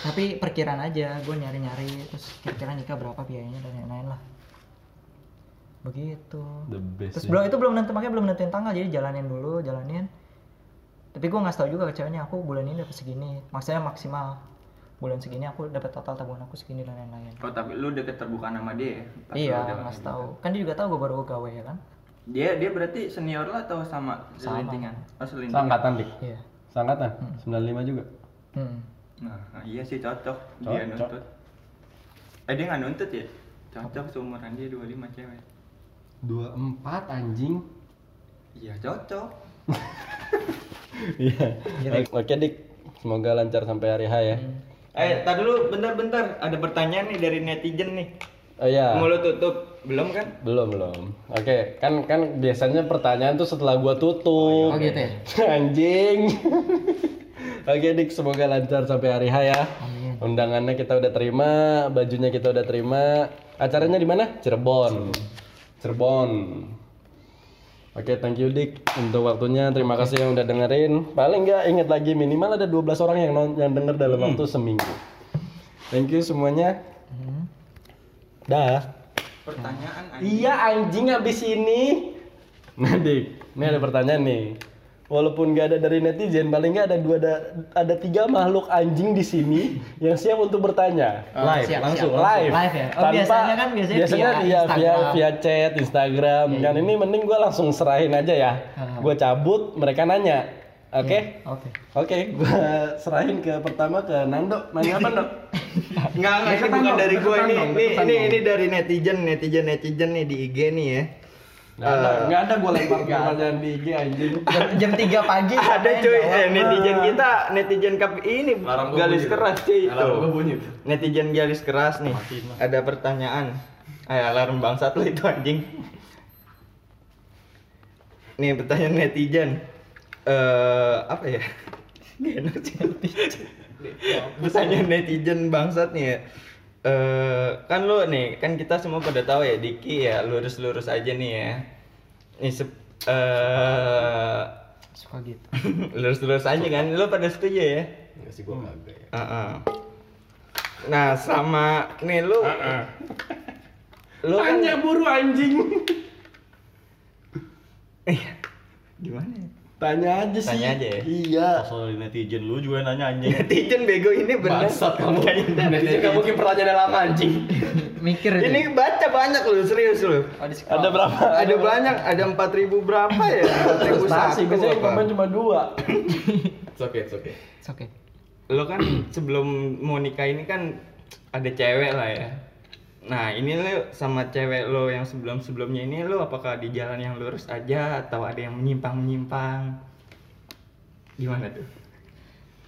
B: tapi perkiraan aja gue nyari nyari terus kira-kira nikah berapa biayanya dan lain-lain lah begitu
A: The best.
B: terus belum itu belum nentu makanya belum nentuin tanggal jadi jalanin dulu jalanin tapi gue nggak tahu juga ke ceweknya aku bulan ini dapat segini maksudnya maksimal bulan segini aku dapat total tabungan aku segini dan lain-lain
C: Oh, tapi lu udah keterbukaan sama dia ya? Pas
B: iya
C: lu udah-
B: nggak tahu kan dia juga tahu gue baru gawe ya kan
C: Dia dia berarti senior lah atau sama selintingan? Oh, selintingan.
A: Seangkatan dik.
B: iya
A: Seangkatan. 95 juga.
B: hmm.
C: Nah, iya sih cocok. Dia
A: Cocok.
C: nuntut. Eh, dia nggak nuntut ya? Cocok seumuran dia 25 cewek.
A: 24 anjing.
C: Iya, cocok.
A: Iya. Oke dik, semoga lancar sampai hari H ya.
B: Hmm.
C: Eh, tar dulu bentar-bentar. Ada pertanyaan nih dari netizen nih.
A: Oh iya.
D: Ah.
C: Mau lu tutup? Belum kan?
A: Belum belum. Oke, kan kan biasanya pertanyaan tuh setelah gua tutup.
B: oh gitu ya
A: Anjing. Oke Dik, semoga lancar sampai hari H ya.
B: Amin.
A: Undangannya kita udah terima, bajunya kita udah terima. Acaranya di mana? Cirebon. Cirebon. Oke, thank you Dik untuk waktunya. Terima kasih yang udah dengerin. Paling nggak inget lagi minimal ada 12 orang yang non- yang denger dalam waktu seminggu. Thank you semuanya.
B: Hmm.
A: Dah.
C: Pertanyaan anjing.
A: Iya anjing abis ini. Nah Dik, ini ada pertanyaan nih. Walaupun gak ada dari netizen, paling nggak ada dua ada, ada tiga makhluk anjing di sini yang siap untuk bertanya.
E: Live
B: siap,
E: langsung.
B: siap.
A: Live.
B: Live ya? Oh, biasanya kan biasanya via
A: iya, via,
B: Instagram. Iya,
A: via chat, Instagram. Kan ini mending gue langsung serahin aja ya.
B: Ah. Iya.
A: Gue cabut, mereka nanya. Oke?
B: oke
A: Oke, gue serahin ke pertama ke Nando. Nanya apa, Nando?
C: Enggak, enggak, ini bukan dari gue ini. Ini, ini, ini dari netizen, netizen, netizen nih di IG nih ya.
A: Nggak ada, nggak ada gue lempar pertanyaan di IG anjing.
B: jam, jam 3 pagi
C: Ada
B: katanya
C: cuy,
B: jawab.
C: eh, netizen kita, netizen kap ini
D: Alarm gua
C: garis
D: bunyi tuh.
C: keras cuy itu.
D: Alarm gua bunyi tuh.
C: Netizen garis keras nih. Ada pertanyaan. Ayo alarm bangsat lo itu anjing. Nih pertanyaan netizen. Eh apa ya? Gak enak sih. Pertanyaan netizen bangsat nih ya. Eh, kan lo nih, kan kita semua pada tahu ya Diki ya lurus-lurus aja nih ya. Nih sep- eh,
B: suka gitu
C: lurus-lurus aja kan. Lo pada setuju ya?
D: Enggak sih gua kagak ya.
C: Heeh. Nah, sama nih lu. Lu kan
A: Tanya buru anjing.
C: Eh, gimana? ya?
A: Tanya aja sih.
C: Tanya aja ya?
A: Iya.
E: Soal netizen lu juga nanya anjing.
C: Netizen bego ini bener. gitu.
D: Bangsat kamu. Netizen nggak mungkin pertanyaan lama anjing.
B: mikir ya.
C: Ini
B: ini
C: baca banyak lu, serius lu.
A: Ada berapa?
C: Ada banyak, ada 4000 berapa ya? 4000
A: Prestasi,
C: satu
A: biasanya yang
C: apa?
A: komen cuma dua.
D: It's okay, it's okay.
B: oke
C: Lu kan sebelum mau nikah ini kan ada cewek lah ya. Nah, ini lu sama cewek lo yang sebelum-sebelumnya ini lu apakah di jalan yang lurus aja atau ada yang menyimpang-menyimpang? Gimana tuh?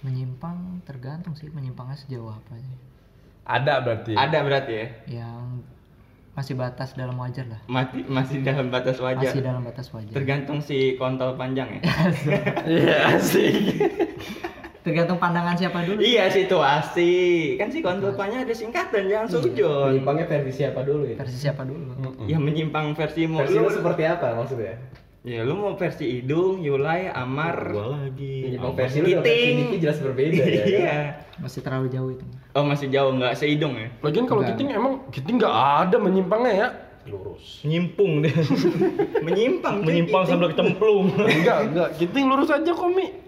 B: menyimpang tergantung sih menyimpangnya sejauh apa sih
A: Ada berarti.
C: Ada berarti ya?
B: yang masih batas dalam wajar lah
C: Mati, masih dalam batas wajar.
B: masih dalam batas wajar
C: Tergantung si kontol panjang ya.
A: Iya sih.
B: tergantung pandangan siapa dulu
C: iya situasi. Kan si kontol panjang ada singkatan jangan sujon.
D: Menyimpangnya versi siapa dulu ya?
B: versi siapa
A: Iya.
B: dulu
C: Ya menyimpang versimu.
D: Versi
C: Lu,
D: lu seperti apa maksudnya?
C: ya lu mau versi hidung, Yulai, Amar.
E: Gua lagi.
D: Menyimpang Iya, versi lu dengan versi
C: Kiting.
D: Diki jelas berbeda ya.
C: Iya.
B: masih terlalu jauh itu
C: Oh masih jauh nggak sehidung ya?
A: Lagian kalau
B: Enggak.
A: kiting emang kiting nggak ada menyimpangnya ya.
D: Lurus.
E: Nyimpung deh.
C: Menyimpang. cuy.
E: Menyimpang sambil kecemplung.
A: Enggak, enggak. Kiting lurus aja komi.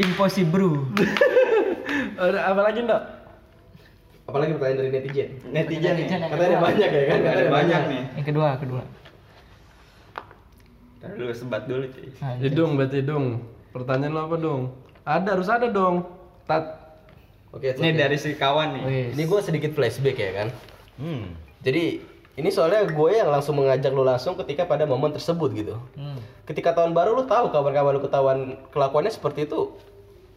B: Impossible.
A: Ada apa lagi Dok?
C: Apalagi pertanyaan dari netizen.
D: Netizen nih.
B: Netizen yang
C: Katanya ada
B: kedua.
C: banyak ya kan?
D: Ada banyak nih.
B: Yang kedua, kedua.
D: Ntar dulu sebat dulu cuy.
B: Anjay.
A: Hidung berarti hidung. Pertanyaan lo apa dong? Ada harus ada dong. Tat.
C: Oke,
D: Ini dari si kawan nih.
B: Wih.
C: Ini gue sedikit flashback ya kan.
F: Hmm.
C: Jadi ini soalnya gue yang langsung mengajak lu langsung ketika pada momen tersebut gitu.
B: Hmm.
C: Ketika tahun baru lu tahu kabar-kabar lu ketahuan kelakuannya seperti itu.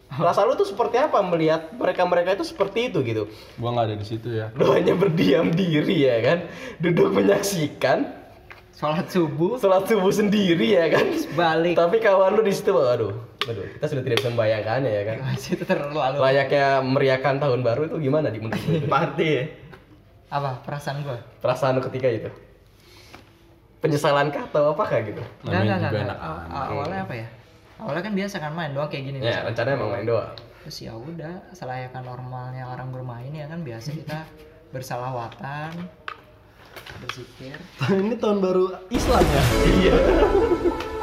C: Rasa lu tuh seperti apa melihat mereka-mereka itu seperti itu gitu.
A: Gua nggak ada di situ ya.
C: Lu hanya berdiam diri ya kan, duduk menyaksikan
B: Sholat subuh
C: sholat subuh sendiri ya kan.
B: balik.
C: Tapi kawan lu di situ, aduh, aduh, kita sudah tidak bisa membayangkannya ya kan.
B: Itu terlalu
C: Layaknya meriakan tahun baru itu gimana di menurut lu?
D: Party ya.
B: apa perasaan gua?
C: perasaan lu ketika itu? Penyesalan kah atau apakah gitu?
B: Enggak,
A: Namanya
B: enggak,
A: juga
B: enggak. Aw- Awalnya apa ya? Awalnya kan biasa kan main doang kayak gini.
C: Ya, rencananya emang main doang.
B: Terus ya udah, selayakan normalnya orang bermain ya kan biasa kita bersalawatan, berzikir.
A: Ini tahun baru Islam ya?